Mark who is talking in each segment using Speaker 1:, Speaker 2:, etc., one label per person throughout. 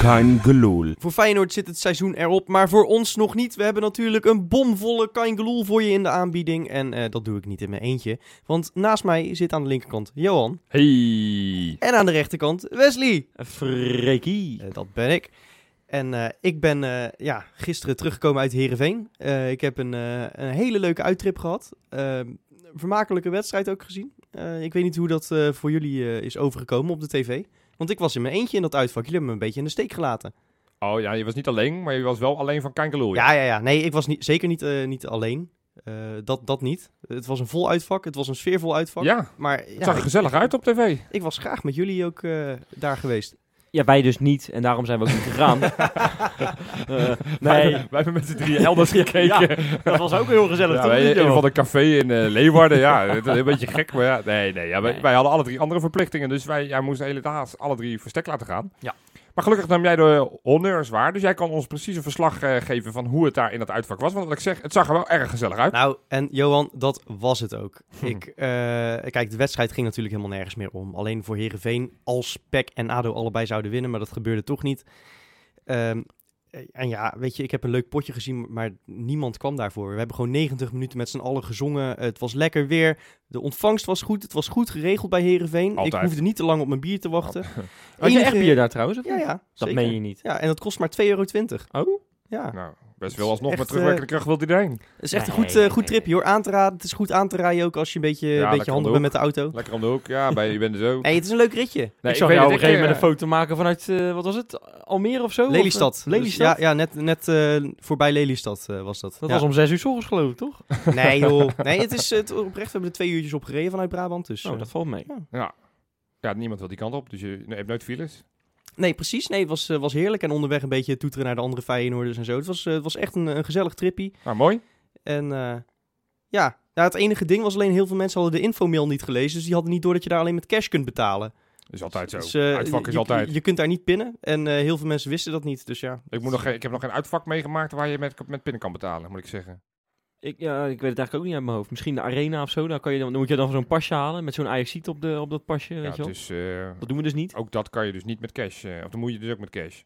Speaker 1: Kein geloel.
Speaker 2: Voor Feyenoord zit het seizoen erop, maar voor ons nog niet. We hebben natuurlijk een bomvolle Kangeloel voor je in de aanbieding. En eh, dat doe ik niet in mijn eentje. Want naast mij zit aan de linkerkant Johan.
Speaker 3: Hey.
Speaker 2: En aan de rechterkant Wesley.
Speaker 3: Freekie.
Speaker 2: Eh, dat ben ik. En eh, ik ben eh, ja, gisteren teruggekomen uit Heerenveen. Eh, ik heb een, eh, een hele leuke uittrip gehad. Eh, vermakelijke wedstrijd ook gezien. Eh, ik weet niet hoe dat eh, voor jullie eh, is overgekomen op de tv. Want ik was in mijn eentje in dat uitvak. Jullie hebben me een beetje in de steek gelaten.
Speaker 3: Oh ja, je was niet alleen, maar je was wel alleen van Kankeloer.
Speaker 2: Ja, ja, ja. Nee, ik was niet, zeker niet, eh, niet alleen. Eh, dat, dat niet. Het was een vol uitvak. Het was een sfeervol uitvak.
Speaker 3: Ja, het
Speaker 2: Maar ja,
Speaker 3: zag er
Speaker 2: ik,
Speaker 3: gezellig uit op tv.
Speaker 2: ik was graag met jullie ook eh, daar geweest.
Speaker 4: Ja, wij dus niet. En daarom zijn we ook niet gegaan. Eh,
Speaker 3: Wij,
Speaker 4: nee,
Speaker 3: hebben- wij hebben met z'n drieën elders gekeken.
Speaker 4: Ja, dat was ook heel gezellig.
Speaker 3: Ja,
Speaker 4: toch
Speaker 3: wij-
Speaker 4: niet,
Speaker 3: in
Speaker 4: joh?
Speaker 3: een van de café in eh, Leeuwarden, ja, het is een beetje gek, maar ja, nee, nee, ja, wij,
Speaker 4: Nee.
Speaker 3: wij hadden alle drie andere verplichtingen, dus wij ja, moesten helaas alle drie verstek laten gaan.
Speaker 4: Ja.
Speaker 3: Maar gelukkig nam jij de honneurs waar, dus jij kan ons precies een verslag eh, geven van hoe het daar in dat uitvak was, want wat ik zeg, het zag er wel erg gezellig uit.
Speaker 2: Nou, en Johan, dat was het ook. Ik, eh, kijk, de wedstrijd ging natuurlijk helemaal nergens meer om. Alleen voor Herenveen, als PEC en ADO allebei zouden winnen, maar dat gebeurde toch niet. Ehm, en ja, weet je, ik heb een leuk potje gezien, maar niemand kwam daarvoor. We hebben gewoon 90 minuten met z'n allen gezongen. Het was lekker weer. De ontvangst was goed. Het was goed geregeld bij Herenveen. Ik
Speaker 3: Altijd.
Speaker 2: hoefde niet te lang op mijn bier te wachten.
Speaker 4: Oh. Had je echt
Speaker 2: Enige-
Speaker 4: bier daar trouwens? Of
Speaker 2: Ja,
Speaker 4: niet?
Speaker 2: ja.
Speaker 4: Dat
Speaker 2: zeker.
Speaker 4: meen je niet.
Speaker 2: Ja, en dat kost maar 2,20 euro.
Speaker 4: Oh?
Speaker 2: Ja.
Speaker 3: Nou, best wel
Speaker 2: is
Speaker 3: alsnog,
Speaker 2: echt,
Speaker 3: met terugwerkende kracht wil hij erheen.
Speaker 2: Het is echt een
Speaker 4: Nee,
Speaker 2: goed, eh,
Speaker 4: nee,
Speaker 2: goed
Speaker 4: nee,
Speaker 2: tripje hoor. Aan te raden. Het is goed aan te rijden ook als je een beetje, een beetje
Speaker 3: lekker om de
Speaker 2: handig bent met de auto.
Speaker 3: Lekker om de hoek, ja, bij je bent er zo.
Speaker 2: Nee, het is een leuk ritje.
Speaker 3: Nee,
Speaker 4: ik zag
Speaker 3: weet
Speaker 4: jou op
Speaker 3: het,
Speaker 4: een gegeven moment
Speaker 3: eh,
Speaker 4: een foto maken vanuit, eh, wat was het? Almere of zo? Of, eh,
Speaker 2: Lelystad. Dus
Speaker 4: Lelystad?
Speaker 2: ja, ja, net, net eh, voorbij Lelystad eh, was dat.
Speaker 4: Dat
Speaker 2: Ja.
Speaker 4: was om zes uur 's ochtends geloof ik, toch?
Speaker 2: Nee joh. Nee, het is eh, het- oprecht. We hebben er twee uurtjes op gereden vanuit Brabant. Dus,
Speaker 4: Zo,
Speaker 2: eh,
Speaker 4: Oh, dat valt mee.
Speaker 3: Ja, niemand wil die kant op, dus je nee, hebt nooit files.
Speaker 2: Nee, precies. Nee, het was, eh, was heerlijk. En onderweg een beetje toeteren naar de andere Feyenoorders en zo. Het was, eh, het was echt een, een gezellig trippie.
Speaker 3: Nou, mooi.
Speaker 2: En eh, ja. ja, het enige ding was alleen heel veel mensen hadden de infomail niet gelezen. Dus die hadden niet door dat je daar alleen met cash kunt betalen.
Speaker 3: Is altijd zo.
Speaker 2: Dus, eh,
Speaker 3: Uitvak is
Speaker 2: je,
Speaker 3: altijd.
Speaker 2: Je, je kunt daar niet pinnen. En eh, heel veel mensen wisten dat niet. Dus ja.
Speaker 3: Ik, moet nog, geen- ik heb nog geen uitvak meegemaakt waar je met, met pinnen kan betalen, moet ik zeggen.
Speaker 4: Ik, ja, ik weet het eigenlijk ook niet uit mijn hoofd. Misschien de arena of zo. Daar kan je dan, dan moet je dan zo'n pasje halen met zo'n ajax op, de, op dat pasje, weet
Speaker 3: Ja,
Speaker 4: je wel.
Speaker 3: dus eh,
Speaker 4: Dat doen we dus niet.
Speaker 3: ook dat kan je dus niet met cash. eh, of dan moet je dus ook met cash.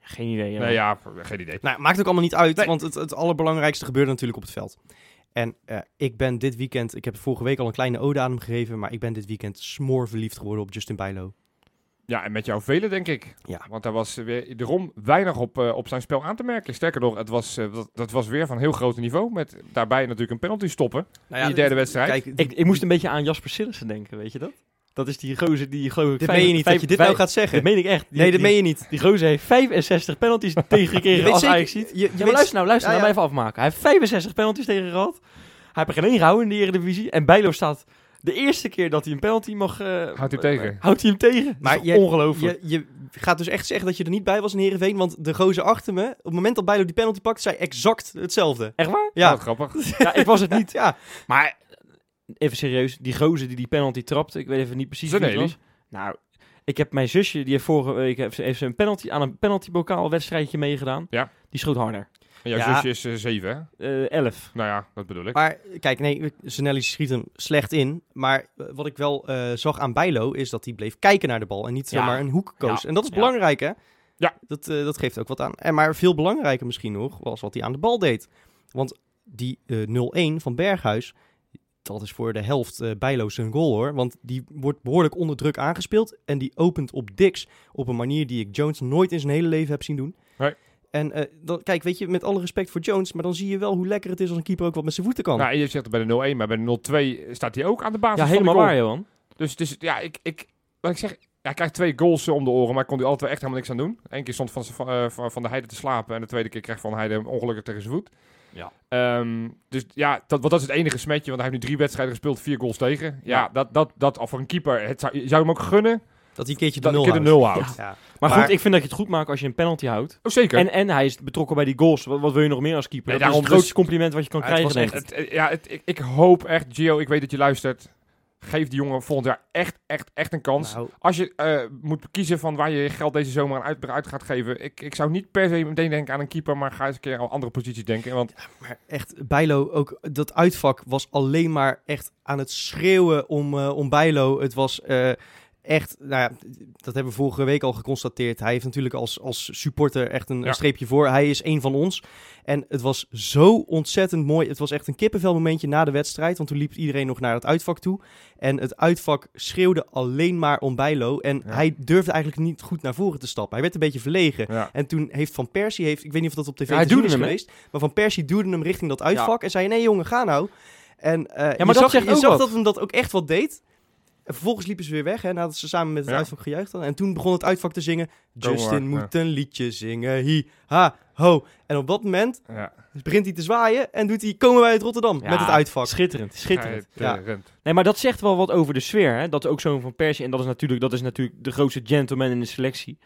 Speaker 4: Geen idee. ja.
Speaker 3: Nee, ja, p- geen idee.
Speaker 2: Nou, maakt ook allemaal niet uit,
Speaker 3: Nee.
Speaker 2: want het, het allerbelangrijkste gebeurde natuurlijk op het veld. En eh, ik ben dit weekend, ik heb vorige week al een kleine ode aan hem gegeven, maar ik ben dit weekend smoorverliefd geworden op Justin Bijlo.
Speaker 3: Ja, en met jou velen, denk ik.
Speaker 2: Ja.
Speaker 3: Want daar was eh, weer de Rom weinig op, eh, op zijn spel aan te merken. Sterker nog, het was, eh, dat, dat was weer van heel groot niveau. Met daarbij natuurlijk een penalty stoppen. die derde wedstrijd.
Speaker 2: Kijk,
Speaker 4: Ik, ik moest een beetje aan Jasper Sillissen denken, weet je dat? Dat is die gozer die geloof ik...
Speaker 2: dit
Speaker 4: vijf-
Speaker 2: meen je niet, dat
Speaker 4: vijf-
Speaker 2: je dit
Speaker 4: vijf-
Speaker 2: nou gaat zeggen.
Speaker 4: Dit meen ik echt. Die-
Speaker 2: nee, dit
Speaker 4: die-
Speaker 2: meen je niet.
Speaker 4: Die gozer heeft 65 penalties tegengekregen als Ajax ziet.
Speaker 2: je, je
Speaker 4: Ja, maar
Speaker 2: weet-
Speaker 4: luister nou, luister
Speaker 2: Ja,
Speaker 4: nou,
Speaker 2: ja.
Speaker 4: maar even afmaken. Hij heeft 65 penalties tegen gehad. Hij heeft er geen één gehouden in de Eredivisie. En Bijlo staat de eerste keer dat hij een penalty mag... eh,
Speaker 3: Houdt hij tegen.
Speaker 4: Houdt hij hem tegen.
Speaker 2: Maar
Speaker 4: Maar dat is toch
Speaker 2: jij-
Speaker 4: ongelooflijk.
Speaker 2: je, je gaat dus echt zeggen dat je er niet bij was in Heerenveen, want de gozer achter me, op het moment dat Bijlo die penalty pakt, zei exact hetzelfde.
Speaker 4: Echt waar?
Speaker 3: Ja.
Speaker 2: Ja,
Speaker 3: grappig.
Speaker 4: Ja, ik was het niet.
Speaker 2: ja.
Speaker 4: Maar even serieus, die gozer die die penalty trapte, ik weet even niet precies wie het
Speaker 3: Zanelli.
Speaker 4: was. Nou, ik heb mijn zusje, die heeft vorige week heeft, ze- heeft ze een penalty, aan een penaltybokaal wedstrijdje meegedaan.
Speaker 3: Ja.
Speaker 4: Die schoot harder.
Speaker 3: En jouw
Speaker 2: Ja.
Speaker 3: zusje is eh, zeven, hè?
Speaker 4: Eh 11.
Speaker 3: Nou ja, dat bedoel ik.
Speaker 2: Maar kijk, nee, Zanelli schiet hem slecht in. Maar eh, wat ik wel eh, zag aan Bijlo is dat hij bleef kijken naar de bal en niet
Speaker 4: Ja.
Speaker 2: zomaar een hoek koos.
Speaker 4: Ja.
Speaker 2: En dat is
Speaker 4: Ja.
Speaker 2: belangrijk, hè?
Speaker 3: Ja.
Speaker 2: Dat, eh, dat geeft ook wat aan. En maar veel belangrijker misschien nog was wat hij aan de bal deed. Want die eh 0-1 van Berghuis, dat is voor de helft eh Bijlo zijn goal, hoor. Want die wordt behoorlijk onder druk aangespeeld en die opent op Dix op een manier die ik Jones nooit in zijn hele leven heb zien doen.
Speaker 3: Nee.
Speaker 2: En eh, dan, kijk, weet je, met alle respect voor Jones, maar dan zie je wel hoe lekker het is als een keeper ook wat met zijn voeten kan.
Speaker 3: Nou, en je zegt het bij de 0-1, maar bij de 0-2 staat hij ook aan de basis
Speaker 4: Ja,
Speaker 3: van de
Speaker 4: helemaal
Speaker 3: goal.
Speaker 4: waar, Johan.
Speaker 3: Dus, dus ja, ik, ik, wat ik zeg, hij krijgt twee goals eh, om de oren, maar kon hij alle twee echt helemaal niks aan doen. Eén keer stond van, z'n- van, eh, van, van de Heide te slapen en de tweede keer kreeg Van Heide hem ongelukkig tegen zijn voet.
Speaker 4: Ja.
Speaker 3: Ehm, dus ja, dat, want dat is het enige smetje, want hij heeft nu drie wedstrijden gespeeld, vier goals tegen. Ja,
Speaker 4: Ja.
Speaker 3: dat, dat, dat of voor een keeper, het zou, je zou hem ook gunnen
Speaker 2: Dat hij een keertje de
Speaker 3: dat hij
Speaker 2: nul
Speaker 3: een keer de
Speaker 2: houdt.
Speaker 3: nul houdt.
Speaker 2: Ja.
Speaker 4: Maar,
Speaker 2: Maar-
Speaker 4: goed, ik vind dat je het goed maakt als je een penalty houdt.
Speaker 3: Oh, zeker.
Speaker 4: En, en hij is betrokken bij die goals. Wat, wat wil je nog meer als keeper?
Speaker 3: Nee,
Speaker 4: dat is
Speaker 3: daarom
Speaker 4: het grootste compliment wat je kan
Speaker 2: Ja, het
Speaker 4: krijgen,
Speaker 2: was
Speaker 4: denk
Speaker 2: echt
Speaker 4: ik.
Speaker 3: Het- het- ja, het- ik, ik hoop echt, Gio, ik weet dat je luistert. Geef die jongen volgend jaar echt, echt, echt een kans.
Speaker 2: Nou,
Speaker 3: Als je eh, moet kiezen van waar je je geld deze zomer aan uit, uit gaat geven. Ik, ik zou niet per se meteen denken aan een keeper, maar ga eens een keer aan andere posities denken. Want
Speaker 2: maar echt, Bijlo, ook dat uitvak was alleen maar echt aan het schreeuwen om, eh, om Bijlo. Het was eh, echt, nou ja, dat hebben we vorige week al geconstateerd. Hij heeft natuurlijk als, als supporter echt een,
Speaker 3: Ja.
Speaker 2: een streepje voor. Hij is één van ons. En het was zo ontzettend mooi. Het was echt een kippenvelmomentje na de wedstrijd. Want toen liep iedereen nog naar het uitvak toe. En het uitvak schreeuwde alleen maar om Bijlo. En
Speaker 3: Ja.
Speaker 2: hij durfde eigenlijk niet goed naar voren te stappen. Hij werd een beetje verlegen.
Speaker 3: Ja.
Speaker 2: En toen heeft Van Persie, heeft, ik weet niet of dat op tv
Speaker 4: Ja, hij
Speaker 2: te zien
Speaker 4: duwde
Speaker 2: is
Speaker 4: hem, hè?
Speaker 2: geweest, maar Van Persie duwde hem richting dat uitvak en zei, nee jongen, ga nou. En eh,
Speaker 4: dat
Speaker 2: je zag,
Speaker 4: zegt
Speaker 2: je
Speaker 4: ook
Speaker 2: zag
Speaker 4: wat.
Speaker 2: dat hem dat ook echt wat deed. En vervolgens liepen ze weer weg, hè, nadat ze samen met het
Speaker 3: Ja.
Speaker 2: uitvak gejuicht hadden. En toen begon het uitvak te zingen,
Speaker 3: Go
Speaker 2: Justin
Speaker 3: hard,
Speaker 2: moet
Speaker 3: ja.
Speaker 2: een liedje zingen, hi, ha, ho. En op dat moment
Speaker 3: Ja.
Speaker 2: begint hij te zwaaien en doet hij, komen wij uit Rotterdam,
Speaker 4: Ja,
Speaker 2: met het uitvak.
Speaker 4: Schitterend, schitterend.
Speaker 2: Ja.
Speaker 3: Ja. eh, Rent.
Speaker 4: Nee, maar dat zegt wel wat over de sfeer. Hè? Dat ook zo'n Van Persie, en dat is, natuurlijk, dat is natuurlijk de grootste gentleman in de selectie.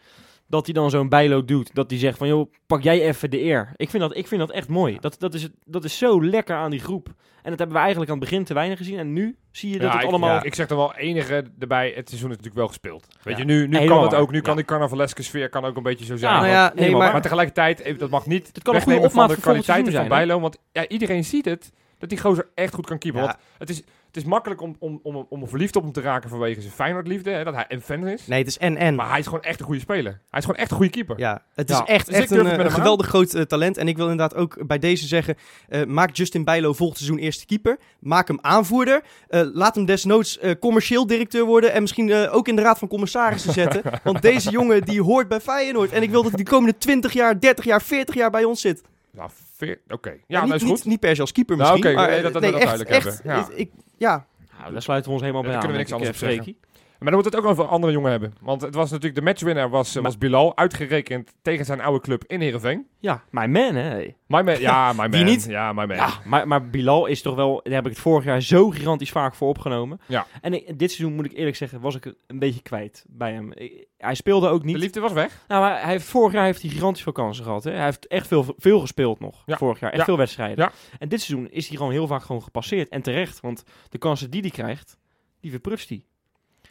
Speaker 4: Dat hij dan zo'n bijlo doet. Dat hij zegt van, joh, pak jij even de eer. Ik vind dat, ik vind dat echt mooi. Dat, dat, is, dat is zo lekker aan die groep. En dat hebben we eigenlijk aan het begin te weinig gezien. En nu zie je dat
Speaker 3: Ja,
Speaker 4: het
Speaker 3: ik,
Speaker 4: allemaal...
Speaker 3: ja, ik zeg er wel enige erbij. Het seizoen is natuurlijk wel gespeeld. Weet
Speaker 4: Ja.
Speaker 3: je, nu, nu
Speaker 4: Helemaal
Speaker 3: kan het
Speaker 4: waar.
Speaker 3: ook. Nu kan
Speaker 4: Ja.
Speaker 3: die carnavaleske sfeer kan ook een beetje zo zijn.
Speaker 4: Ja,
Speaker 3: want-
Speaker 2: nou ja, nee,
Speaker 4: helemaal
Speaker 2: maar-
Speaker 3: maar tegelijkertijd, even, dat mag niet
Speaker 4: Het kan een goede
Speaker 3: wegnemen van
Speaker 4: opmaat
Speaker 3: de
Speaker 4: voor volgend
Speaker 3: kwaliteiten van
Speaker 4: seizoen zijn,
Speaker 3: Bijlo. Want ja, iedereen ziet het, dat die gozer echt goed kan keepen.
Speaker 2: Ja.
Speaker 3: Want het is, het is makkelijk om, om, om, om verliefd op hem te raken vanwege zijn Feyenoordliefde. Hè, dat hij een fan is.
Speaker 2: Nee, het is en-en.
Speaker 3: Maar hij is gewoon echt een goede speler. Hij is gewoon echt een goede keeper.
Speaker 2: Ja, het
Speaker 3: Ja,
Speaker 2: is echt,
Speaker 3: dus ik
Speaker 2: echt
Speaker 3: durf
Speaker 2: een,
Speaker 3: het met
Speaker 2: eh,
Speaker 3: hem aan.
Speaker 2: geweldig groot eh, talent. En ik wil inderdaad ook bij deze zeggen: eh, maak Justin Bijlo volgend seizoen eerste keeper. Maak hem aanvoerder. Eh, laat hem desnoods eh, commercieel directeur worden. En misschien eh, ook in de raad van commissarissen zetten. Want deze jongen die hoort bij Feyenoord. En ik wil dat hij de komende 20 jaar, 30 jaar, 40 jaar bij ons zit. Eh,
Speaker 3: Nou, veer- oké. Ja,
Speaker 2: niet,
Speaker 3: dat is goed.
Speaker 2: Niet, niet per se als keeper
Speaker 3: Nou,
Speaker 2: misschien.
Speaker 3: oké,
Speaker 2: maar,
Speaker 3: nee,
Speaker 2: eh,
Speaker 3: dat- dat we dat
Speaker 2: echt,
Speaker 3: duidelijk
Speaker 2: echt,
Speaker 3: hebben. Ja.
Speaker 2: eh, Ik, ja.
Speaker 4: Nou, daar sluiten we ons helemaal
Speaker 3: Ja,
Speaker 4: bij
Speaker 3: daar kunnen
Speaker 4: aan.
Speaker 3: we
Speaker 4: denk
Speaker 3: niks
Speaker 4: ik,
Speaker 3: anders op
Speaker 4: eh, Freekie.
Speaker 3: Maar dan moet het ook over andere jongen hebben. Want het was natuurlijk, de matchwinner was, eh, was Bilal, uitgerekend tegen zijn oude club in Heerenveen.
Speaker 4: Ja, my man, hè.
Speaker 3: My man, ja, my man.
Speaker 2: Wie niet?
Speaker 3: Ja, my man.
Speaker 4: Ja, maar, maar Bilal is toch wel, daar heb ik het vorig jaar zo gigantisch vaak voor opgenomen.
Speaker 3: Ja.
Speaker 4: En ik- dit seizoen moet ik eerlijk zeggen, was ik een beetje kwijt bij hem. Ik- Hij speelde ook
Speaker 3: De
Speaker 4: niet.
Speaker 3: liefde was weg.
Speaker 4: Nou, maar hij heeft, vorig jaar heeft hij gigantisch veel kansen gehad. Hè? Hij heeft echt veel, veel gespeeld nog.
Speaker 3: Ja.
Speaker 4: Vorig jaar. Echt
Speaker 3: Ja.
Speaker 4: veel wedstrijden.
Speaker 3: Ja.
Speaker 4: En dit seizoen is hij gewoon heel vaak gewoon gepasseerd. En terecht, want de kansen die hij krijgt, die verprutst hij.